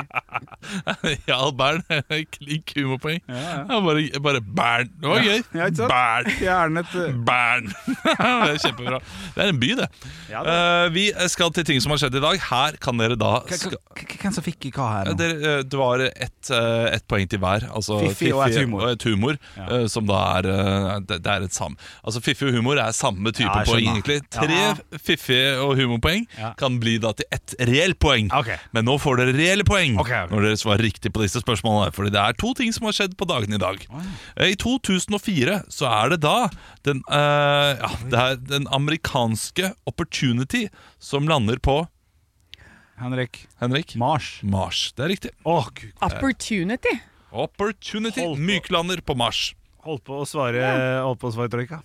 S3: Jarl Bern. Klink humorpoeng. Ja, bare, bare Bern. Det var gøy.
S2: Ja, ikke sant?
S3: Bern.
S2: Fjernet eh,
S3: Bern. det er kjempebra. Det er en by, det.
S2: Ja,
S3: Eh, vi skal til ting som har skjedd i dag. Her kan dere da
S2: K-
S3: ska-
S2: k- k- Hvem som fikk i hva her
S3: Ja,
S2: nå?
S3: dere, eh, det var ett eh, ett poeng til hver. Altså,
S2: Fiffi og et humor.
S3: og et humor, eh, som da er eh, det, det er et sam... Altså Fiffi og humor er samme type
S2: Ja, jeg
S3: poeng,
S2: skjønner.
S3: egentlig. Tre fiffige og humorpoeng
S2: Ja.
S3: kan bli da til ett reelt poeng.
S2: Ok.
S3: Men nå får dere reelle poeng
S2: Ok, ok.
S3: når dere svarer riktig på disse spørsmålene. Fordi det er to ting som har skjedd på dagen i dag. Eh, I 2004 så er det da den, eh, ja, det er den amerikanske Opportunity som lander på
S2: Henrik.
S3: Henrik?
S2: Mars.
S3: Mars. Det er riktig.
S2: Å, gud.
S4: Opportunity.
S3: Opportunity
S2: Hold på.
S3: myklander på Mars.
S2: Holdt på å svare Holdt på å svare troika.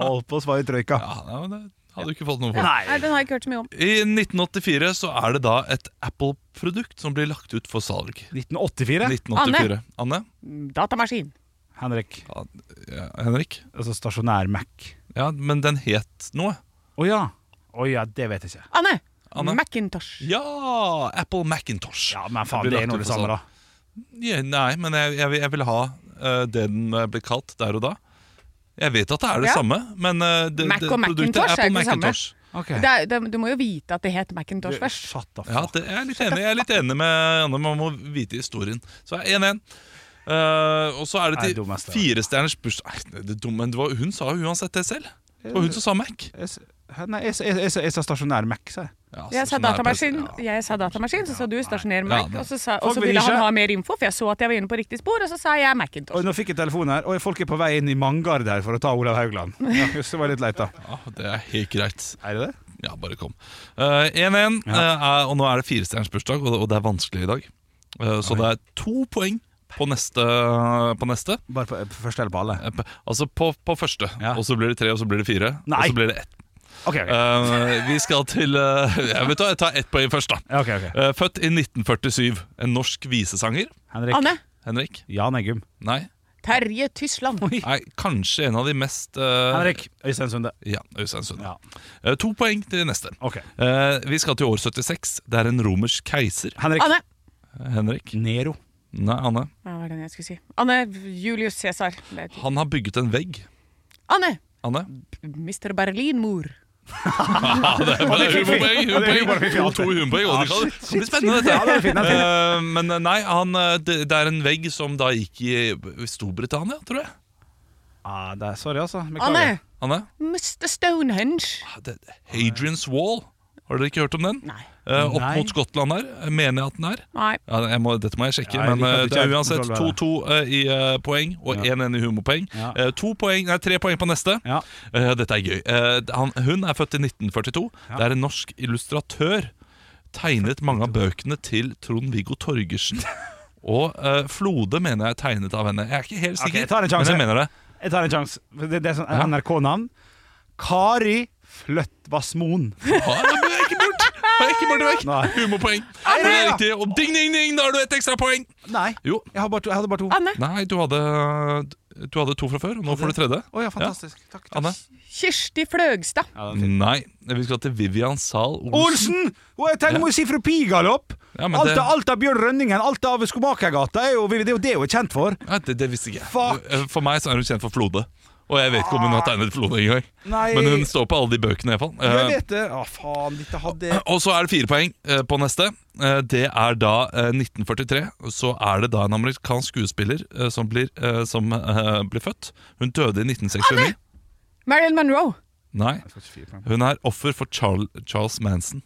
S2: Holdt på å svare troika.
S3: Ja, ja, men det hadde du ikke fått noe for.
S4: Nei, den har jeg ikke hørt så mye om.
S3: I 1984 så er det da et Apple-produkt som blir lagt ut for salg.
S2: 1984.
S3: 1984. Anne?
S4: Datamaskin.
S2: Henrik.
S3: Ja, Henrik?
S2: Altså stasjonær Mac.
S3: Ja, men den het noe.
S2: Å ja. Å ja, det vet jeg ikke.
S4: Anne.
S3: Anne?
S4: Macintosh.
S3: Ja! Apple Macintosh.
S2: Ja, Men faen,
S3: Den
S2: det
S3: blir
S2: er
S3: lagt
S2: nå
S3: ut
S2: det
S3: for
S2: samme,
S3: salg.
S2: da.
S3: Ja, nei, men jeg, jeg, vil- jeg vil ha eh, det den eh, ble kalt der og da. Jeg vet at det er det
S4: Ja.
S3: samme, men eh, det,
S4: Mac
S3: det
S4: og
S3: produktet
S4: Macintosh er
S3: Apple
S4: ikke det samme.
S3: Macintosh.
S2: Ok.
S4: Det er, det, du må jo vite at det het Macintosh først.
S2: Shut the
S3: Ja,
S2: fuck.
S3: det, jeg, er litt enig, jeg er litt enig med Anne. Man må vite historien. Så 1-1. Eh, og så
S2: Nei,
S3: er det til
S2: dummeste.
S3: firestjerners bursdag Nei, det er dumt, Men det var, hun sa jo uansett det selv. Det var hun som sa Mac.
S2: Jeg s- Hæ, Nei, jeg, s- jeg, jeg, jeg sa stasjonær Mac, sa jeg.
S4: Jeg sa
S3: stasjonær
S4: datamaskin,
S3: PC.
S4: jeg sa datamaskin, så sa du stasjoner
S3: Ja,
S4: Mac.
S3: det-
S4: Og så, sa,
S2: Folk
S4: og så
S2: vil
S4: ville han
S2: ikke-
S4: ha mer info, for jeg så at jeg var inne på riktig spor, og så sa jeg
S2: Oi,
S4: Macintosh.
S2: nå fikk jeg telefon her. Oi, folk er på vei inn i Mangard her for å ta Olav Haugland. Ja, just det var litt leit, da.
S3: Ja, det er helt greit.
S2: Er det det?
S3: Ja, bare kom. Eh, 1-1, eh, er- og nå er det firestjerners bursdag, og, det- og det er vanskelig i dag. Eh, så det er to poeng på neste. På neste.
S2: Bare på, på første eller på alle?
S3: Eh, på- Altså på, på første,
S2: Ja.
S3: og så blir det tre, og så blir det fire,
S2: Nei.
S3: og så blir det ett.
S2: Ok, ok.
S3: Eh, vi skal til eh, jeg Vet du hva, jeg tar ett poeng først, da.
S2: Ja, ok, ok.
S3: Eh, Født i 1947, en norsk visesanger.
S2: Henrik.
S4: Anne.
S3: Henrik?
S2: Jan Eggum.
S3: Nei.
S4: Terje Tysland.
S3: Nei kanskje en av de mest eh,
S2: Henrik. Øystein Sunde.
S3: Ja, Øystein Sunde.
S2: Ja.
S3: Eh, to poeng til neste.
S2: Ok.
S3: Eh, vi skal til år 76. Det er en romersk keiser.
S2: Henrik.
S4: Anne.
S3: Henrik?
S2: Nero.
S3: Nei, Anne.
S4: Hva var den jeg skulle si? Anne Julius Cæsar. Det er-
S3: Han har bygget en vegg.
S4: Anne.
S3: Anne?
S4: Mr. Berlin-mor.
S3: Ja, det er bare
S2: fiffig. Ja,
S3: humorpoeng!
S2: det er
S3: humorpoeng.
S2: humorfiffig.
S3: To, to humorpoeng, og det kan, det kan bli spennende, dette.
S2: Ja, det er fint, det er fint.
S3: Eh, men nei, han, eh, det, det er en vegg som da gikk i Storbritannia, tror jeg.
S2: Ah, det er, sorry, altså. Beklager.
S4: Anne.
S3: Anne?
S4: Mr. Stonehenge.
S3: Ah, det- Hadrian's Wall. Har dere ikke hørt om den?
S4: Nei.
S3: Eh, opp
S2: Nei.
S3: mot Skottland her, Eh, mener jeg at den er.
S4: Nei.
S3: Ja, jeg må, dette må jeg sjekke,
S2: Ja, jeg
S3: men
S2: liker at
S3: eh,
S2: du
S3: det
S2: ikke
S3: er
S2: har
S3: uansett
S2: kontroll
S3: 2-2 eh, i eh, poeng og 1-1 i humorpoeng.
S2: Ja.
S3: Eh, to poeng, nei, tre poeng på neste.
S2: Ja.
S3: Eh, dette er gøy. Eh, han, hun er født i 1942. Det er en norsk illustratør. Tegnet mange av bøkene til Trond-Viggo Torgersen. Og eh, Flode mener jeg er tegnet av henne. Jeg er ikke helt sikker,
S2: Ok, jeg tar en sjanse.
S3: men jeg mener det.
S2: Jeg tar en sjanse. Det, det er sånn NRK-navn. Kari Fløttvassmoen.
S3: Ja, det ble ikke bort. Nei, ikke Bartek.
S2: Nei.
S3: Humorpoeng. For det er riktig. Og ding, ding, ding, da har du et ekstra poeng.
S2: Nei,
S3: Jo.
S2: jeg, har bare to, jeg hadde bare to.
S4: Anne.
S3: Nei, du hadde, du hadde to fra før, og nå får du tredje.
S2: Å ja, fantastisk. Takk. takk.
S3: Anne?
S4: Kirsti Fløgstad.
S3: Nei, vi skal til Vivian Zahl Olsen.
S2: Olsen! Og jeg tenker må jo si fra Pigalopp!
S3: Ja, men
S2: alt,
S3: det-
S2: av, alt av Bjørn Rønningen, alt av Skomakergata, er jo, det er jo det hun er kjent for.
S3: Nei, det, det visste ikke jeg. Eh,
S2: Fuck.
S3: For meg så er hun kjent for Flode. Og jeg vet ikke om hun har tegnet Flode engang.
S2: Nei.
S3: Men hun står på alle de bøkene, iallfall.
S2: Jeg
S3: Eh,
S2: vet det. Å, faen, dette hadde jeg
S3: og så er det fire poeng eh, på neste. Eh, det er da eh, 1943. Så er det da en amerikansk skuespiller eh, som, blir, eh, som eh, blir født. Hun døde i 1969.
S4: Marilyn Monroe.
S3: Nei,
S2: får ikke fire poeng.
S3: hun er offer for Charles, Charles Manson.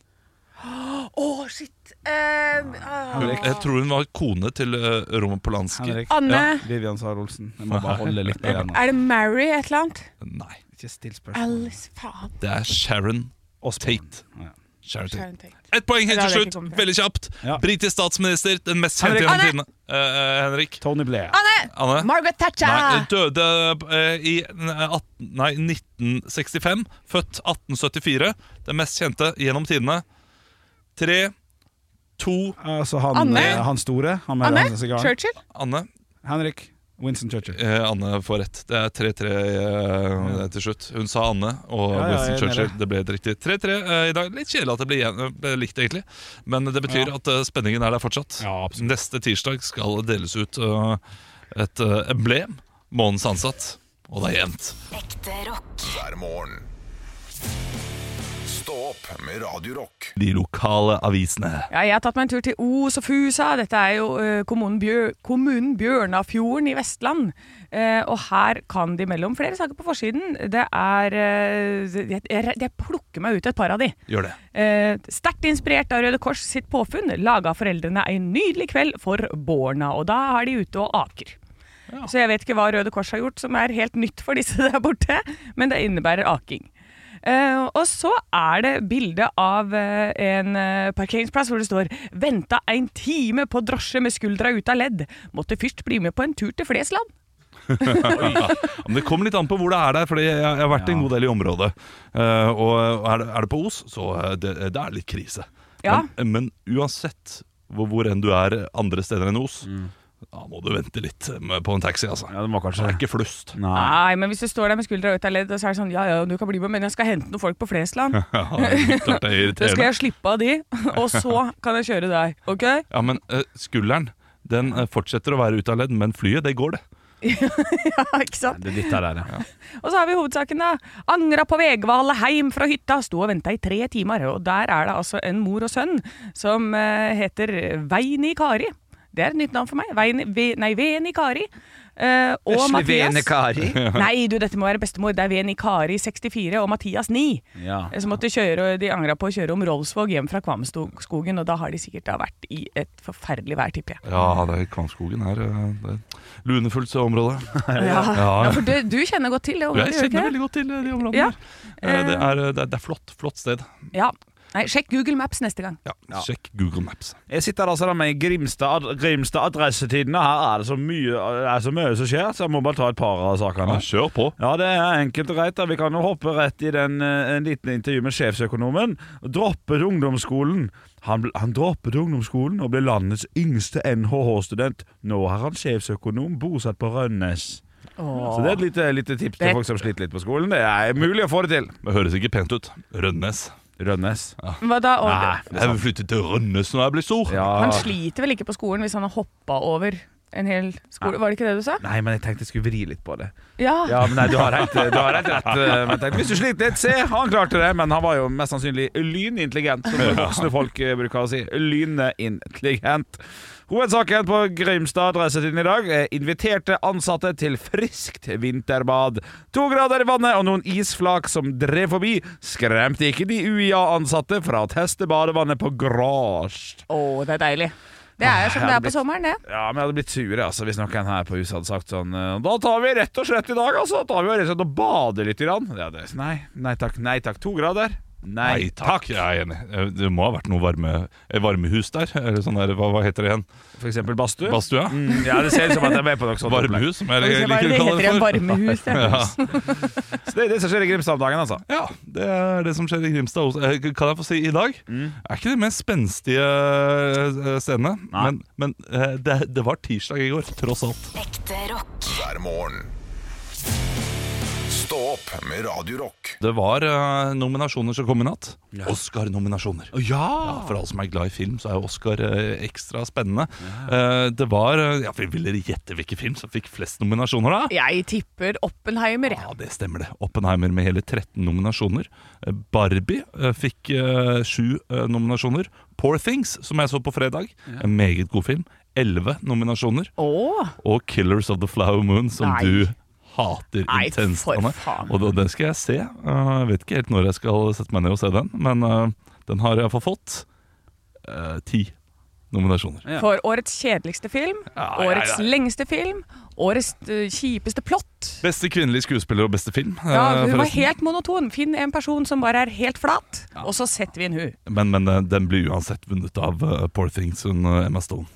S4: Å, shit. Eh, ah.
S3: Hun, jeg tror hun var kone til uh, Roman Polanski.
S2: Henrik.
S4: Anne.
S2: Vivian Sahr Olsen. Jeg må bare holde litt på den.
S4: Er det Mary et eller annet?
S3: Nei,
S2: Ikke still spørsmål.
S4: Alice, faen.
S3: det er Sharon
S2: Osborne.
S3: Tate.
S2: Ja.
S3: Sharon Tate.
S4: Sharon Tate.
S3: Ett poeng helt
S4: Det hadde
S3: til
S4: jeg ikke
S3: slutt,
S4: kommet til.
S3: veldig kjapt.
S2: Ja.
S3: Britisk statsminister, den mest kjente
S2: Henrik.
S3: gjennom tidene. Eh, eh, Henrik.
S2: Tony Blair.
S4: Anne!
S3: Anne.
S4: Margaret Thatcher.
S3: Nei, hun døde eh, i eh, 18, nei, 1965. Født 1874. Den mest kjente gjennom tidene. Tre, to
S2: Altså han,
S4: Anne.
S2: eh, han store. Han med
S4: Anne
S2: den sigaren.
S4: Churchill.
S3: Anne.
S2: Henrik. Winston Churchill.
S3: Eh, Anne får rett. Det er 3-3 eh, til slutt. Hun sa Anne og
S2: Ja, ja, jeg
S3: Winston
S2: er
S3: Churchill.
S2: enig.
S3: Det ble et riktig 3-3 eh, i dag. Litt kjedelig at det blir igjen- eh, ble likt, egentlig. Men det betyr at eh, spenningen er der fortsatt.
S2: Ja, absolutt.
S3: Neste tirsdag skal det deles ut eh, et eh, emblem. Månens ansatt. Og det er jevnt.
S5: Ekte rock.
S1: hver morgen. Stå opp med Radio Rock.
S3: De lokale avisene.
S4: Ja, jeg har tatt meg en tur til Os og Fusa. Dette er jo eh, kommunen, Bjør kommunen Bjørnafjorden i Vestland. Eh, og her kan de melde om flere saker på forsiden. Det er eh, jeg, jeg, jeg plukker meg ut et par av de.
S3: Gjør det.
S4: Eh, Sterkt inspirert av Røde Kors sitt påfunn laga foreldrene en nydelig kveld for barna, og da er de ute og aker. Så jeg vet ikke hva Røde Kors har gjort som er helt nytt for disse der borte, men det innebærer aking. Eh, og så er det bilde av eh, en eh, parkeringsplass hvor det står 'Venta en time på drosje med skuldra ut av ledd'. Måtte først bli med på en tur til Flesland.
S3: Men det kommer litt an på hvor det er der, Fordi jeg, jeg har vært en god del i området. Eh, og er det, er det på Os, så eh, det, det er litt krise.
S4: Ja.
S3: Men, eh, men uansett hvor, hvor enn du er andre steder enn Os,
S4: Mm.
S3: da må du vente litt med, på en taxi, altså.
S2: Ja, det var
S3: det
S2: kanskje
S3: er ikke flust.
S2: Nei.
S4: Nei, men hvis du står der med skuldra ut av ledd, og så er det sånn 'ja ja, du kan bli med, men jeg skal hente noen folk på Flesland'.
S3: Ja, det er klart det er
S4: Da skal
S3: irriterende.
S4: jeg slippe av de, og så kan jeg kjøre deg. Ok?
S3: Ja, men eh, skulderen den eh, fortsetter å være ute av ledd, men flyet, det går, det.
S4: Ja, ikke sant?
S2: Det er ditt der, ja.
S4: Og så har vi hovedsaken, da. Angra på Vegvalet heim fra hytta. Sto og venta i tre timer. Og der er det altså en mor og sønn som eh, heter Veini Kari. Det er et nytt navn for meg. Veini, ve, nei, Veni Kari. eh, og Mathias.
S2: Kari.
S4: Nei, du, dette må være bestemor. Det er Veni Kari 64 og Mathias 9.
S2: Ja.
S4: Som måtte kjøre, de angra på å kjøre om Rolsvåg hjem fra Kvamskogen, og da har de sikkert da vært i et forferdelig vær, tipper jeg.
S3: Ja, det er Kvamskogen her. eh, Det er lunefullt så området.
S4: Ja.
S3: Ja, ja.
S4: for du, du kjenner godt til det området,
S3: Jeg
S4: gjør du ikke
S3: kjenner
S4: det?
S3: veldig godt til eh, de områdene
S4: Ja.
S3: her. Eh, Det er, eh, det er, det er flott, flott sted.
S4: Ja. Nei, sjekk Google Maps neste gang.
S3: Ja, Sjekk Google Maps.
S2: Jeg sitter altså der med Grimstad, ad Grimstad adressetiden, og her er det så mye, det er så mye som skjer, så jeg må bare ta et par av sakene.
S3: Ja, kjør på.
S2: Ja, det er enkelt og greit. da. Vi kan jo hoppe rett i den, eh, en liten intervju med sjefsøkonomen. Droppet ungdomsskolen. Han, bl- han droppet ungdomsskolen og ble landets yngste NHH-student. Nå er han sjefsøkonom bosatt på Rønnes. Så det er et lite, lite tips til
S4: Det-
S2: folk som sliter litt på skolen. Det er mulig å få det til.
S3: Det høres ikke pent ut. Rønnes.
S2: Rønnes.
S4: Hva da? Og,
S3: Jeg vil flytte til Rønnes når jeg blir stor.
S2: Ja.
S4: Han sliter vel ikke på skolen hvis han har hoppa over en hel skole? Var det ikke det du sa?
S2: Nei, men jeg tenkte jeg skulle vri litt på det.
S4: Ja.
S2: Ja, men nei, du har helt, du har helt rett. eh, Men jeg tenkte, hvis du sliter litt, se, han klarte det. Men han var jo mest sannsynlig lynintelligent, som voksne folk eh, bruker å si. Lynintelligent. Hovedsaken på Grimstad Adressetiden i dag er inviterte ansatte til friskt vinterbad. To grader i vannet og noen isflak som drev forbi, skremte ikke de UiA-ansatte fra å teste badevannet på Grasj.
S4: Å, det er deilig. Det er jo som det er på sommeren, det.
S2: Ja, men jeg hadde blitt sure altså, hvis noen her på huset hadde sagt sånn eh, Da tar vi rett og slett i dag, altså. Da tar vi rett og slett og bader litt. Grann. Ja, det, nei, nei takk. Nei takk. To grader. Nei takk.
S3: Jeg er enig. Eh, Det må ha vært noe varme, eh, varmehus der. Eller sånn der, hva, hva heter det igjen?
S2: For eksempel badstue.
S3: Badstue? ja.
S2: Mm, ja, det ser ut som at jeg er med på noe sånt. opplegg.
S3: Varmehus, som jeg liker
S4: Det
S3: å kalle
S4: heter
S3: det
S4: en
S3: for.
S4: varmehus. det.
S3: Ja.
S2: Så det er det som skjer i Grimstad om dagen, altså.
S3: ja, det er det som skjer i Grimstad. også. Eh, Kan jeg få si i dag?
S2: Mm.
S3: Er ikke det mest spenstige eh, scenene.
S2: Nei.
S3: Men, men eh, det, det var tirsdag i går, tross alt.
S5: Ekte rock.
S1: hver morgen. Stå opp med Radio Rock.
S3: Det var eh, nominasjoner som kom i natt. Oscar-nominasjoner. Ja, For alle som er glad i film, så er jo Oscar eh, ekstra spennende. Eh, det var eh, ja, for Vil dere gjette hvilken film som fikk flest nominasjoner, da?
S4: Jeg tipper Oppenheimer. jeg.
S3: Ja, det stemmer det. Oppenheimer med hele 13 nominasjoner. Eh, Barbie eh, fikk eh, sju eh, nominasjoner. Poor Things, som jeg så på fredag, en meget god film. Elleve nominasjoner.
S4: Åh,
S3: Og Killers of the Flower Moon, som
S4: Nei.
S3: du hater
S4: Nei,
S3: intenst.
S4: for
S3: Anne.
S4: faen.
S3: Og da- den skal jeg se. Eh, Jeg vet ikke helt når jeg skal sette meg ned og se den, men eh, den har jeg iallfall fått eh, ti nominasjoner.
S2: Ja.
S4: For årets kjedeligste film,
S3: Ja, ja,
S4: årets
S3: ja.
S4: lengste film, årets eh, kjipeste plott.
S3: Beste kvinnelige skuespiller og beste film. eh,
S4: Ja, hun var
S3: forresten.
S4: helt monoton. Finn en person som bare er helt flat, og så setter vi inn hun.
S3: Men, men eh, den blir uansett vunnet av eh, Poor Things og eh, Emma Stone.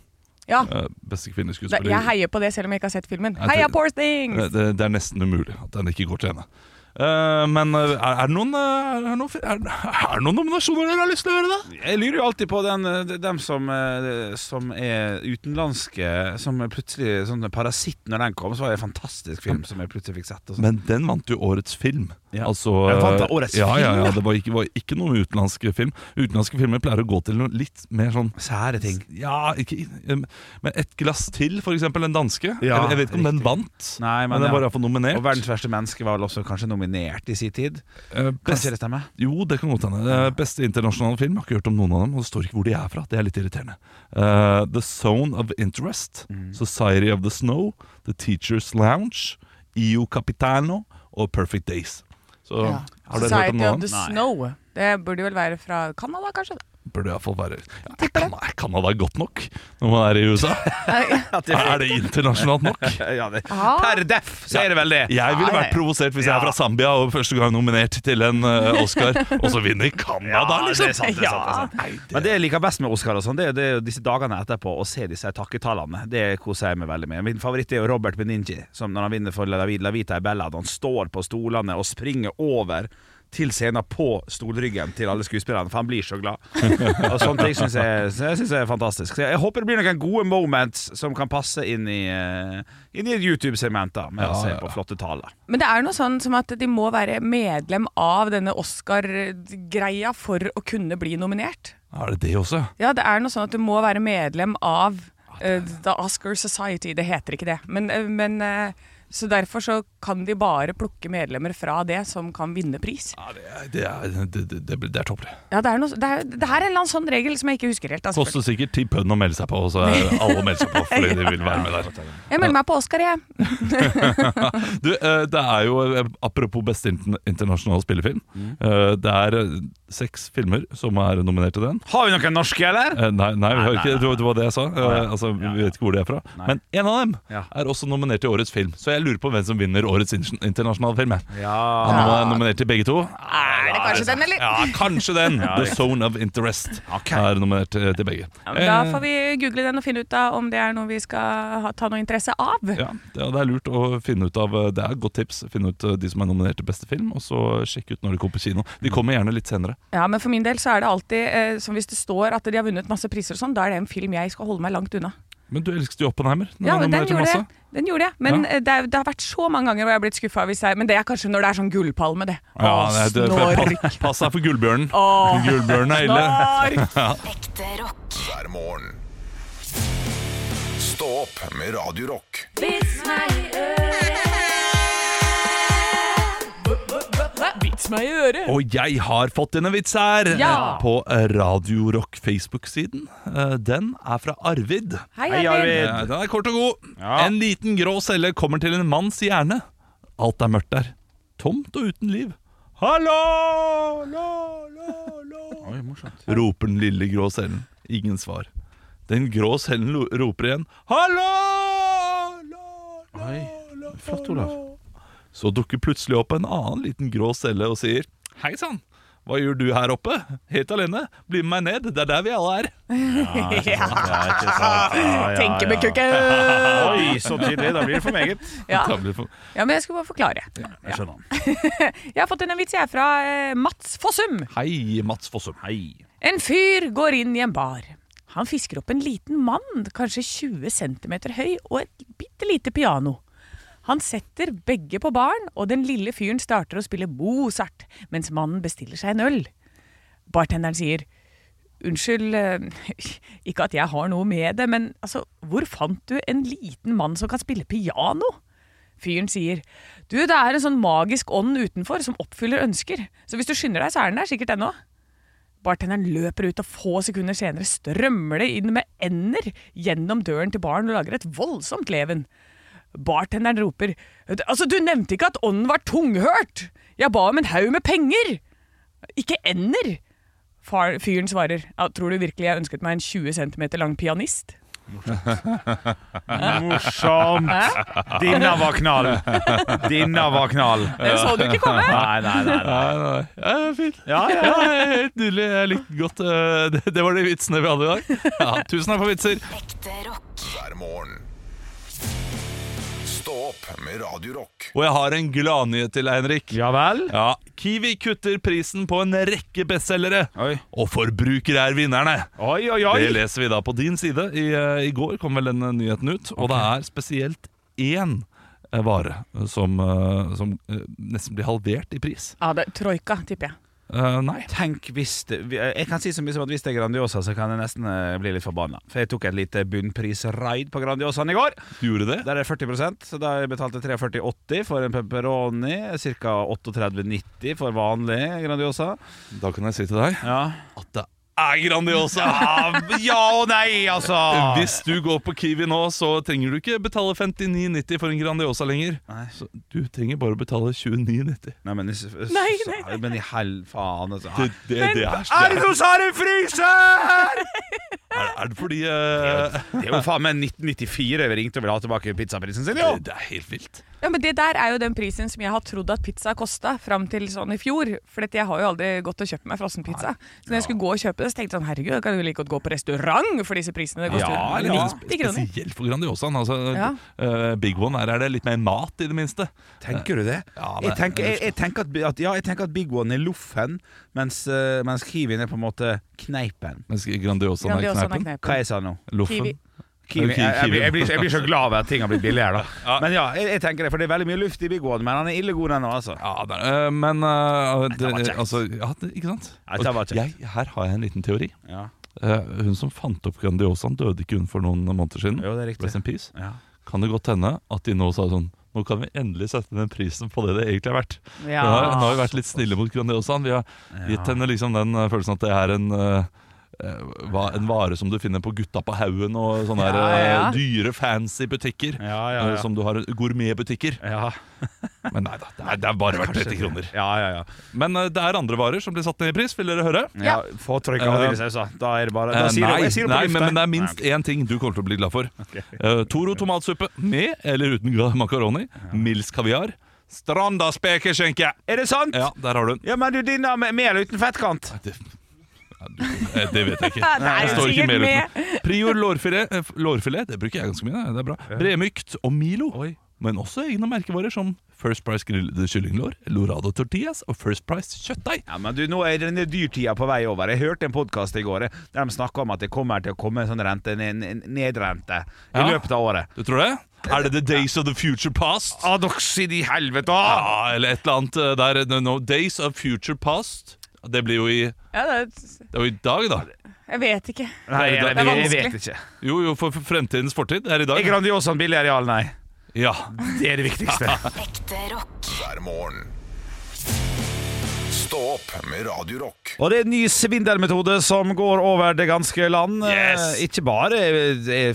S4: Ja,
S3: Eh, Beste kvinnelige
S4: da,
S3: skuespiller.
S4: jeg heier på det selv om jeg ikke har sett filmen.
S3: Jeg
S4: Heia
S3: tror-
S4: Poor
S3: Eh,
S4: Things!
S3: det, det er nesten umulig at den ikke går til henne. Eh, men eh, er, er det noen, eh, er, det noen fi- er, er det noen nominasjoner dere har lyst til å gjøre, da?
S2: Jeg lurer jo alltid på den, eh, dem som, eh, som er utenlandske, som er plutselig sånn Parasitt, når den kom, så var det en fantastisk film som jeg plutselig fikk sett. Og sånn.
S3: Men den vant jo årets film.
S2: Ja.
S3: Altså,
S2: Den vant
S3: eh,
S2: da årets
S3: ja, ja,
S2: film,
S3: ja,
S2: ja.
S3: Det var ikke, var ikke noen utenlandske film. Utenlandske filmer pleier å gå til noe litt mer sånn
S2: Sære ting.
S3: Ja, ikke, eh, men Et glass til, for eksempel, den danske.
S2: Ja,
S3: jeg, jeg vet ikke om den
S2: riktig.
S3: vant,
S2: Nei, men
S3: men den
S2: ja.
S3: var iallfall nominert.
S2: Og 'Verdens verste menneske' var vel også kanskje nominert i sin tid.
S3: Eh,
S2: Kan
S3: best,
S2: ikke det stemme?
S3: Jo, det kan godt hende. Det er Beste internasjonale film. Jeg har ikke hørt om noen av dem, og det står ikke hvor de er fra. Det er litt irriterende. Eh, the Zone of Interest,
S2: Mm.
S3: Society of the Snow, The Teacher's Lounge, IO Capitano og Perfect Days. Så har dere hørt om
S4: Society of
S3: noen
S4: the
S3: av dem?
S2: Nei.
S4: Snow. Det burde vel være fra Canada, kanskje?
S3: Burde iallfall være ja, er Canada, er Canada godt nok når man er i USA? er det internasjonalt nok?
S2: Ja, det,
S4: Ah.
S2: per deff, så er det vel det.
S3: Jeg ville
S4: Ja,
S3: vært
S4: ja.
S3: provosert hvis jeg er fra Zambia og første gang nominert til en eh, Oscar, og så vinner Canada,
S2: Ja, det
S3: liksom!
S2: er sant, det er sant, det er sant.
S3: Nei, det-
S2: Men det jeg liker best med Oscar, og sånn Det er- det er jo disse dagene etterpå å se disse takketalene. Det koser jeg meg veldig med. Min favoritt er jo Robert Beninji, som når han vinner for La, La Vita i Bellad. Han står på stolene og springer over til scenen på stolryggen til alle skuespillerne, for han blir så glad. og Sånne ting syns jeg, så jeg synes er fantastisk. Så jeg håper det blir noen gode moments som kan passe inn i, eh, inn i et YouTube-segment, da, med å se på flotte taler.
S4: Men det er noe sånn som at de må være medlem av denne Oscar-greia for å kunne bli nominert.
S3: Er det det også?
S4: Ja, det er noe sånn at du må være medlem av
S3: Ah,
S4: eh, The Oscar Society. Det heter ikke det. Men, eh, men eh, så derfor så kan de bare plukke medlemmer fra det som kan vinne pris.
S3: Ja, det er, det er, det, det, det, det er toppere.
S4: Ja, det, er noe, det, er, det her er en eller annen sånn regel som jeg ikke husker helt. altså. da, selvfølgelig.
S3: Koster sikkert ti pund å melde seg på, og så er alle melder seg på fordi de vil være med der.
S4: Jeg melder meg på Oscar, jeg.
S3: Du, eh, det er jo, eh, apropos beste intern- internasjonale spillefilm, eh, det er eh, seks filmer som er nominert til den.
S2: Har vi noen norske, eller?
S3: Eh, Nei, nei, vi hører ikke, det var- det var det jeg sa. Eh, Altså, Vi vet ikke hvor de er fra. Men en av dem
S2: Ja.
S3: er også nominert til årets film, så jeg lurer på hvem som vinner årets in- internasjonale film. jeg.
S2: Ja.
S3: Han er nominert til begge to.
S4: Er det kanskje den, eller?
S3: Ja, kanskje den! The Zone of Interest
S2: Ok.
S3: er nominert eh, til begge.
S4: Ja, men Da får vi google den og finne ut da om det er noe vi skal ha, ta noe interesse av.
S3: Ja, det, det er lurt å finne ut av eh, Det er et godt tips. Finne ut eh, de som er nominert til beste film, og så sjekke ut når de kommer på kino. De kommer gjerne litt senere.
S4: Ja, Men for min del så er det alltid eh, som hvis det står at de har vunnet masse priser og sånn, da er det en film jeg skal holde meg langt unna.
S3: Men du elsket jo Oppenheimer. Den
S4: Ja,
S3: er
S4: den
S3: nominert til
S4: gjorde,
S3: masse.
S4: jeg. den gjorde jeg. Men
S3: Ja.
S4: eh, det, er, det har vært så mange ganger hvor jeg har blitt skuffa. Men det er kanskje når det er sånn gullpalme, det.
S3: Ja,
S4: Å,
S3: nei, det,
S4: snork.
S3: pass, pass deg for gullbjørnen.
S4: Åh,
S3: Gullbjørnen er ille.
S4: snork.
S5: Ekte rock.
S1: hver morgen. Stå opp med Radio Rock.
S4: Vits meg i øret.
S3: Og jeg har fått en vits her
S4: Ja.
S3: eh, på Radio Rock Facebook-siden. Eh, Den er fra Arvid.
S4: Hei,
S2: Hei,
S4: Arvid.
S2: Arvid.
S3: Eh, Den er kort og god.
S2: Ja.
S3: En liten grå celle kommer til en manns hjerne. Alt er mørkt der. Tomt og uten liv. Hallo! Lo, lo, lo.
S2: Oi, morsomt.
S3: roper den lille grå cellen. Ingen svar. Den grå cellen lo- roper igjen. Hallo! Lo, lo,
S2: Oi,
S3: lo,
S2: flott, Olav.
S3: lo. Så dukker plutselig opp en annen liten grå celle og sier Hei sann, Hva gjør du her oppe? Helt alene? Bli med meg ned, det er der vi alle er.
S4: Tenke med kukken!
S2: Oi, så tydelig. Da blir det for meget.
S4: Ja.
S3: Da blir det for-
S4: ja, men jeg skulle bare forklare.
S2: Jeg skjønner.
S4: Jeg har fått en vits jeg fra eh, Mats Fossum.
S3: Hei, Mats Fossum.
S2: Hei.
S4: En fyr går inn i en bar. Han fisker opp en liten mann, kanskje 20 cm høy, og et bitte lite piano. Han setter begge på baren, og den lille fyren starter å spille Mozart, mens mannen bestiller seg en øl. Bartenderen sier Unnskyld, eh, ikke at jeg har noe med det, men altså, hvor fant du en liten mann som kan spille piano? Fyren sier Du, det er en sånn magisk ånd utenfor som oppfyller ønsker, så hvis du skynder deg, så er den der sikkert ennå. Bartenderen løper ut, og få sekunder senere strømmer det inn med ender gjennom døren til baren og lager et voldsomt leven. Bartenderen roper Altså, du nevnte ikke at ånden var tunghørt! Jeg ba om en haug med penger! Ikke ender! Far, fyren svarer ja, Tror du virkelig jeg ønsket meg en 20 cm lang pianist?
S2: Morsomt. Dinna var knall. Dinna var knall.
S4: Den så du ikke komme!
S2: Nei, nei, nei. nei.
S3: Nei, nei. Ja, det er fint.
S2: Ja, ja.
S3: Ja, helt nydelig. Jeg likte den godt Eh, det, det var de vitsene vi hadde i dag. Ja, tusen takk for vitser.
S5: Ekte rock.
S1: hver morgen. Stå opp med Radio Rock.
S3: Og jeg har en gladnyhet til deg, Henrik.
S2: ja vel?
S3: Ja, Kiwi kutter prisen på en rekke bestselgere.
S2: Oi.
S3: Og forbrukere er vinnerne.
S2: Oi, oi, oi.
S3: Det leser vi da på din side. I, eh, i går kom vel den eh, nyheten ut. Og det er spesielt én eh, vare eh, som, eh, som eh, nesten blir halvert i pris.
S4: Ja, det, troika, tipper jeg.
S3: Eh, nei.
S2: Tenk hvis det, Jeg kan si så mye som at hvis det er Grandiosa, så kan jeg nesten eh, bli litt forbanna. For jeg tok et lite bunnprisraid på Grandiosaen i går.
S3: Du gjorde det?
S2: Der er det 40 så da jeg betalte 43,80 for en pepperoni. Ca. 38,90 for vanlig Grandiosa.
S3: Da kan jeg si til deg
S2: Ja.
S3: at det er Grandiosa!
S2: Ah, ja og nei, altså!
S3: Hvis du går på Kiwi nå, så trenger du ikke betale 59,90 for en Grandiosa lenger.
S2: Nei.
S3: Så du trenger bare å betale 29,90.
S2: Nei, men, s- s-
S4: Nei, nei, nei.
S2: Men i hell faen, altså.
S3: Det, det, det er,
S2: Er det noen som har en fryser?!
S3: er, er det fordi eh,
S2: Det er jo faen meg 1994 vi ringte og ville ha tilbake pizzaprisen sin, jo!
S3: det, det er helt vilt.
S4: Ja, men Det der er jo den prisen som jeg har trodd at pizza kosta fram til sånn i fjor. For dette, jeg har jo aldri gått og kjøpt meg frossenpizza. Så når jeg skulle gå og kjøpe det, så tenkte jeg sånn herregud, jeg kan jo like godt gå på restaurant for disse prisene. Det koster
S2: Ja,
S4: jo
S2: ja.
S4: 90 kroner.
S3: Spesielt sånn for Grandiosaen. Altså,
S4: Ja.
S3: eh, Big One her er det litt mer mat, i det minste.
S2: Tenker du det?
S3: Ja, men-
S2: jeg, tenker, jeg, jeg, tenker at, at, ja, jeg tenker at Big One er loffen, mens, eh, mens Kiwien er på en måte kneipen.
S3: Mens Grandiosaen er
S4: Grandiosaen
S3: knepen.
S4: er sånn
S2: Hva
S4: knepen.
S2: jeg sa nå?
S3: Loffen.
S4: Kiwi.
S2: Kiwi,
S3: Ki-
S2: jeg, jeg, blir- jeg, blir, jeg blir så
S3: Kiwien.
S2: glad over at ting har blitt billigere, da.
S3: Ja.
S2: Men ja, jeg, jeg tenker det, for det er veldig mye luft i Big One, men han er ille god, den òg, altså.
S3: Ja, det er, eh, men eh, det,
S2: var kjekt.
S3: altså, ja, det, Ikke sant?
S2: Nei, det var kjekt.
S3: Jeg, her har jeg en liten teori.
S2: Ja.
S3: Eh, hun som fant opp Grandiosaen, døde ikke hun for noen måneder siden?
S2: Jo, det er riktig.
S3: Rest in peace.
S2: Ja.
S3: Kan det godt hende at de nå sa sånn Nå kan vi endelig sette ned prisen på det det egentlig er verdt.
S4: Ja.
S3: Nå, har, nå har vi vært litt snille mot Grandiosaen. Vi har gitt henne liksom den eh, følelsen at det er en eh, eh, hva, en vare som du finner på Gutta på haugen og sånne her, eh,
S4: Ja, ja.
S3: dyre, fancy butikker.
S2: Ja, ja, ja.
S3: eh, Som du har gourmetbutikker.
S2: Ja.
S3: Men nei da, det er, det er bare verdt 30 kroner.
S2: Ja, ja, ja.
S3: Men eh, det er andre varer som blir satt ned i pris, vil dere høre?
S2: ja få trykk av
S3: Eh,
S2: dine sauser. Da er det bare da
S3: Eh,
S2: sier
S3: nei,
S2: jeg, jeg sier det på
S3: nei
S2: lufta.
S3: men, men det er minst én ting du kommer til å bli glad for. Eh, Toro tomatsuppe med eller uten gra- makaroni. Mils kaviar. Stranda spekeskinke!
S2: Er det sant?
S3: Ja, der har du den.
S2: Ja, men du dinner med, med eller uten fettkant?
S3: Det, ja, du, eh, det vet jeg ikke.
S4: Ja, det er
S3: Det
S4: jo
S3: står ikke
S4: sikkert
S3: mer
S4: med.
S3: utenom. Prior lårfilet, eh, f- lårfilet, det bruker jeg ganske mye. det er bra Bremykt og Milo. Men også egne merkevarer som First Price grillede kyllinglår, Lorado tortillas og First Price kjøttdeig.
S2: Ja, men du, Nå er denne dyrtida på vei over. Jeg hørte en podkast i går eh, der de snakka om at det kommer til å komme en sånn rente, en- en en nedrente i
S3: Ja.
S2: løpet av året.
S3: Du tror det? Er det The Days of the Future Past?
S2: Adoxid i helvete!
S3: Ja, eller et eller annet eh, der no, no, Days of Future Past Det blir jo i,
S4: Ja, det,
S3: det er jo i dag da
S4: jeg vet ikke.
S2: Nei, jeg,
S3: Det
S4: er
S2: jeg, jeg vet
S4: vanskelig.
S2: ikke.
S3: Jo, jo, for for fremtidens fortid er
S2: Er
S3: i dag
S2: Grandiosaen billigere, ja eller nei?
S3: Ja,
S2: Det er det viktigste.
S5: Ekte rock.
S1: hver morgen. Stå opp med Radio Rock.
S2: Og det er en ny svindelmetode som går over det ganske land.
S3: Yes!
S2: Eh, Ikke bare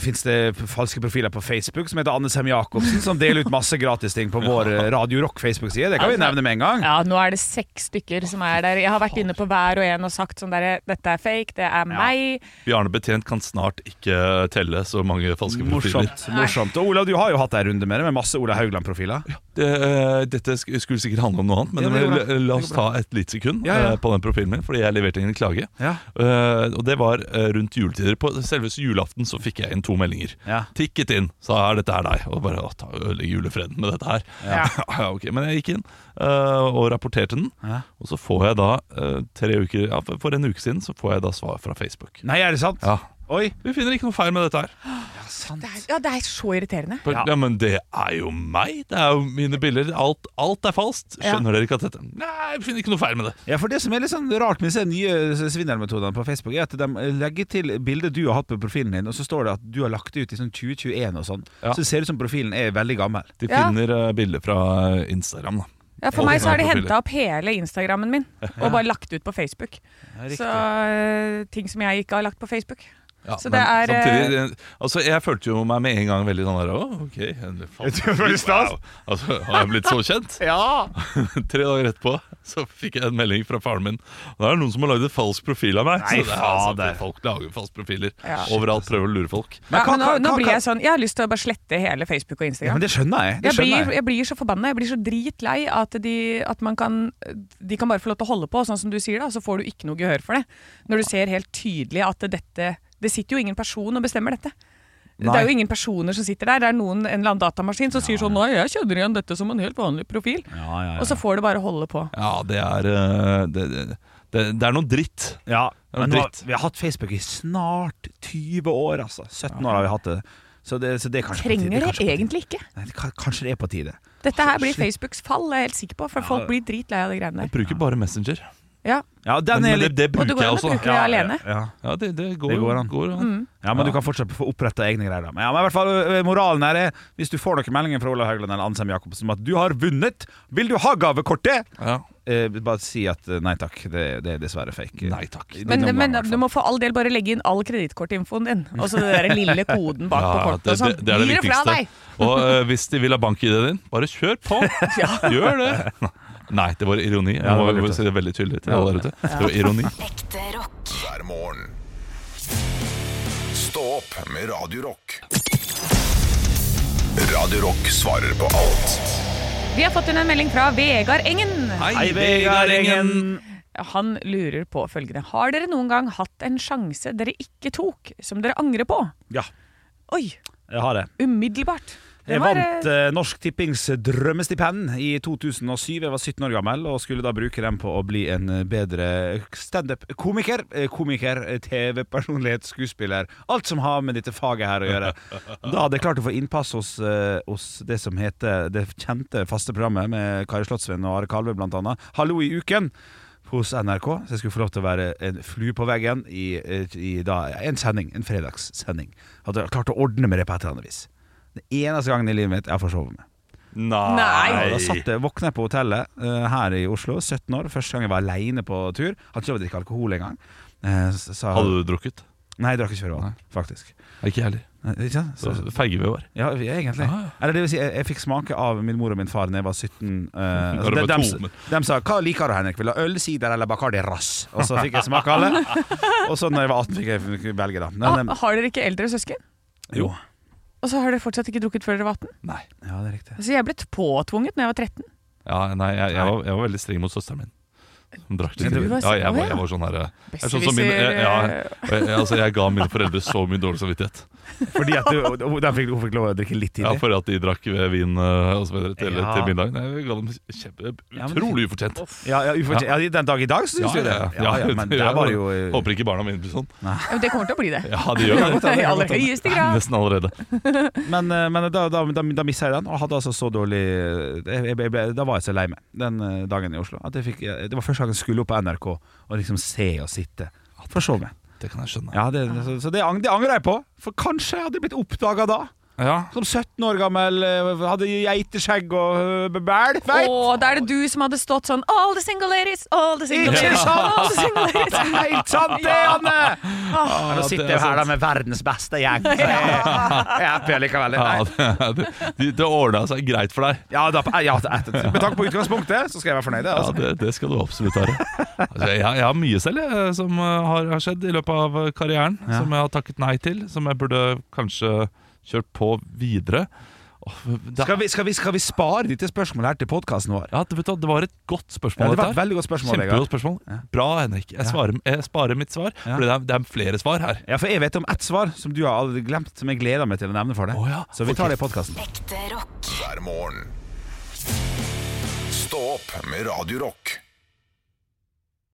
S2: fins det falske profiler på Facebook som heter Anne Sem Jacobsen, som deler ut masse gratisting på vår eh, Radio Rock Facebook-side. Det kan vi nevne med en gang.
S4: Ja, Nå er det seks stykker som er der. Jeg har vært inne på hver og en og sagt sånn derre Dette er fake, det er meg.
S3: Bjarne Betjent kan snart ikke telle så mange falske profiler
S2: Morsomt. morsomt Og Olav, du har jo hatt ei runde med det, med masse Olav Haugland-profiler.
S3: det, eh, Dette sk- skulle sikkert handle om noe annet Men
S2: Ja, men
S3: eh,
S2: det går bra.
S3: la, la oss ta et mitt sekund
S2: Ja, ja.
S3: eh, på den profilen min, fordi jeg leverte inn en klage.
S2: Ja.
S3: Eh, og det var eh, rundt juletider. På selveste julaften så fikk jeg inn to meldinger.
S2: Ja.
S3: Tikket inn, sa er dette her deg? Og bare å, ta ødelegge julefreden med dette her.
S4: Ja.
S3: ja, ok. Men jeg gikk inn eh, og rapporterte den.
S2: Ja.
S3: Og så får jeg da, eh, tre uker, ja, for- for en uke siden, så får jeg da svar fra Facebook.
S2: Nei, er det sant?
S3: Ja.
S2: Oi.
S3: Vi finner ikke noe feil med dette her.
S4: Det er, ja, det er så irriterende.
S3: Ja. men det er jo meg. Det er jo mine bilder. Alt, alt er falskt. Skjønner dere ikke at dette Nei, jeg finner ikke noe feil med det.
S2: Ja, for Det som er litt sånn rart med disse nye svindelmetodene på Facebook, er at de legger til bildet du har hatt på profilen din, og så står det at du har lagt det ut i sånn 2021 og sånn.
S3: Ja.
S2: Så det ser ut som profilen er veldig gammel.
S3: De
S4: Ja.
S3: finner eh, bilder fra Instagram, da.
S4: Ja, for
S3: Ja,
S4: meg
S3: det
S4: så har
S3: er
S4: de
S3: profiler.
S4: henta opp hele Instagrammen min og bare lagt ut på Facebook. Så øh, ting som jeg ikke har lagt på Facebook.
S3: Ja,
S4: Så
S3: men
S4: det er,
S3: samtidig, eh, altså, Jeg følte jo meg med en gang veldig sånn der Å, ok. Veldig stas. Altså, har jeg blitt så kjent? Tre dager etterpå så fikk jeg en melding fra faren min. Da er det noen som har lagd en falsk profil av meg.
S2: Nei,
S3: så det er, altså,
S2: fader.
S3: Folk lager falske profiler
S4: Ja.
S3: overalt, prøver å lure folk.
S4: Ja,
S2: hva-
S4: men nå,
S2: hva-
S4: nå
S2: hva-
S4: blir jeg sånn Jeg har lyst til å bare slette hele Facebook og
S2: Ja,
S4: Instagram.
S2: men det skjønner jeg. Det
S4: jeg,
S2: skjønner
S4: blir, jeg blir så forbanna. Jeg blir så dritlei at, de, at man kan, de kan bare få lov til å holde på, sånn som du sier, da, så får du ikke noe gehør for det. Når du ser helt tydelig at dette Det sitter jo ingen person og bestemmer dette. Det
S3: Nei.
S4: er jo ingen personer som sitter der. Det er noen, en eller annen datamaskin som sier sånn Nei, jeg kjenner igjen dette som en helt vanlig profil.
S2: Ja, ja, ja.
S4: Og så får det bare holde på.
S3: Ja, det er eh, det, det, det, det er noe dritt.
S2: Ja,
S3: Det er
S2: men nå, har-
S3: dritt.
S2: vi har hatt Facebook i snart 20 år, altså. 17 år har vi hatt det. Så det, så det er kanskje på tide.
S4: Trenger det
S2: kanskje på tide.
S4: egentlig ikke.
S2: Nei, det kan- Kanskje det er på tide.
S4: Dette her blir Facebooks fall, jeg er helt sikker på. For folk blir dritlei av de greiene
S3: Jeg
S4: der.
S3: bruker bare Messenger.
S4: Ja.
S2: Ja, den
S3: Men,
S2: er
S3: men det,
S2: litt
S3: det
S4: Og det
S3: bruker
S4: går
S3: jeg
S4: an å
S3: også.
S4: bruke det alene. Mm.
S2: ja.
S3: Ja, det, det går,
S2: Det går an. Ja, men du
S3: Ja.
S2: kan fortsatt få opprette egne greier. da. Men, ja, men i hvert fall, ø, moralen her er eh, Hvis du får noen meldinger fra Olav Haugland eller Ansem Jacobsen om at du har vunnet, vil du ha gavekortet?
S3: Ja.
S2: Eh, bare si at eh, nei takk, det, det er dessverre fake.
S3: Nei takk.
S2: I
S4: Men,
S2: din omgang,
S4: men
S2: i hvert fall.
S4: du må for all del bare legge inn all kredittkortinfoen din. Og så den der lille koden bak
S3: Ja,
S4: på kortet. og sånn.
S3: det, det er det
S4: Gir fra
S3: viktigste.
S4: deg!
S3: Og eh, hvis de vil ha bank-ID-en din, bare kjør på! Gjør det! Nei, det var altså. ironi. Jeg
S2: Ja, det
S3: må
S2: var lurt,
S3: jo si det veldig tydelig til alle der ute. Det var ironi.
S5: Ekte rock.
S1: hver morgen. Stå opp med Radio Rock. Radio Rock svarer på alt
S4: Vi har fått inn en melding fra Vegard Engen.
S2: Hei, Vegard Engen!
S4: Han lurer på følgende. Har dere noen gang hatt en sjanse dere ikke tok, som dere angrer på?
S2: Ja,
S4: Oi,
S2: jeg har det.
S4: umiddelbart. Den
S2: Jeg
S4: var,
S2: vant
S4: eh,
S2: eh, Norsk Tippings drømmestipend i 2007. Jeg var 17 år gammel og skulle da bruke dem på å bli en eh, bedre standup-komiker. eh, Komiker, eh, TV-personlighet, skuespiller. Alt som har med dette faget her å gjøre. Da hadde jeg klart å få innpass hos, eh, hos det som heter det kjente faste programmet med Kari Slottsveen og Are Kalve blant annet. Hallo i uken! Hos NRK, så jeg skulle få lov til å være en flue på veggen i, eh, i da, en sending, en fredagssending. Hadde jeg klart å ordne med det på et eller annet vis. Den eneste gangen i livet mitt jeg har forsovet meg. Ja, da satt jeg, våkna jeg på hotellet eh, her i Oslo, 17 år. Første gang jeg var aleine på tur. Hadde ikke lov til å drikke alkohol engang. Uh, sa,
S3: Hadde du drukket?
S2: Nei, jeg drakk ikke før vann, faktisk.
S3: Ikke jeg heller.
S2: Eh, ikke sant?
S3: Så
S2: Så,
S3: feige vi var.
S2: ja, vi- egentlig.
S3: Ah, ja.
S2: Eller det vil si, jeg, jeg fikk smake av min mor og min far da jeg var 17. eh, altså,
S3: Når du
S2: de,
S3: var
S2: dem-
S3: to, men-
S2: dem sa 'Hva liker du, Henrik? Vil du ha øl, sider eller Bacardi Rass?' Og så fikk jeg smake alle. Og så når jeg var 18, fikk jeg velge, da. Men,
S4: ah, har dere ikke eldre søsken?
S2: eh, jo.
S4: Og så har dere fortsatt ikke drukket før dere var 18?
S3: Nei.
S2: Ja, det er riktig.
S4: Altså, jeg ble påtvunget når jeg var 13.
S3: Ja, nei jeg, jeg, var, jeg var veldig streng mot søsteren min. Hun drakk litt.
S2: Men du
S4: var-
S3: Ja, jeg var,
S4: Å, ja.
S3: jeg var sånn her eh, jeg, er sånn som min,
S4: Besserwisser, eh,
S3: jeg, ja, jeg, jeg, altså, jeg ga mine foreldre så mye dårlig samvittighet.
S2: Fordi at du, hun- de fikk, hun fikk lov å drikke litt
S3: Ja,
S2: tidlig.
S3: For at de drakk vin eh, og så videre til,
S2: Ja.
S3: til middag. Nei, Jeg ga dem kjempe,
S2: Ja, men-
S3: utrolig ufortjent.
S2: Ja, ja, ufortjent- ja, den dag i dag så syns du det. Ja, ja, men der var det jo eh,
S3: Håper ikke barna mine blir sånn.
S4: Ja, men det kommer til å bli det.
S3: Ja, de gjør det.
S4: I aller høyeste grad.
S3: Nesten allerede.
S2: Men, eh, men da, da, da, da mista jeg den, og hadde altså så dårlig jeg, jeg, ble, Da var jeg så lei meg den eh, dagen i Oslo. At jeg fikk, jeg, det var første gang jeg skulle opp på NRK og liksom se og sitte. For så meg.
S3: Det kan jeg skjønne.
S2: Ja, det, så så det, ang- det angrer jeg på. For kanskje jeg hadde blitt oppdaga da.
S3: Ja.
S2: Som 17 år gammel, eh, hadde geiteskjegg og eh, bæl.
S4: Å,
S2: Feit!
S4: da er det du som hadde stått sånn All the single ladies, all the single
S2: Ikke
S4: ladies,
S2: sant?
S4: all the single
S2: Det er
S4: ladies.
S2: Helt sant det, Anne!
S4: Åh,
S2: Nå
S3: det
S2: sitter
S3: er
S2: jeg her da
S3: sant.
S2: med verdens beste gjeng. Så jeg jeg er happy likevel. Nei.
S3: Ja, det, det, det ordna seg greit for deg.
S2: Ja, da, eh, ja, etter, med tanke på utgangspunktet, så skal jeg være fornøyd.
S3: Ja,
S2: Altså.
S3: Det, det skal du absolutt være. Altså, jeg, jeg har mye selv jeg, som eh, har, har skjedd i løpet av eh, karrieren, som jeg har takket nei til. Som jeg burde kanskje kjørt på videre. Det,
S2: Skal vi, skal vi, skal vi spare dette spørsmålet her til podkasten vår?
S3: ja, det, vet du, hva, det var et godt
S2: Ja,
S3: spørsmål.
S2: det var
S3: dette
S2: et
S3: her.
S2: veldig godt spørsmål.
S3: Kjempegodt
S2: Vegard.
S3: spørsmål. Bra, Henrik. Jeg, svarer, jeg sparer mitt svar,
S2: Ja.
S3: for det, er- det er flere svar her.
S2: Ja, for jeg vet om ett svar som du har aldri glemt, som jeg gleder meg til å nevne for deg.
S3: Å ja.
S2: Så vi tar det i podkasten.
S5: Ekte rock.
S1: hver morgen. Stå opp med Radio Rock.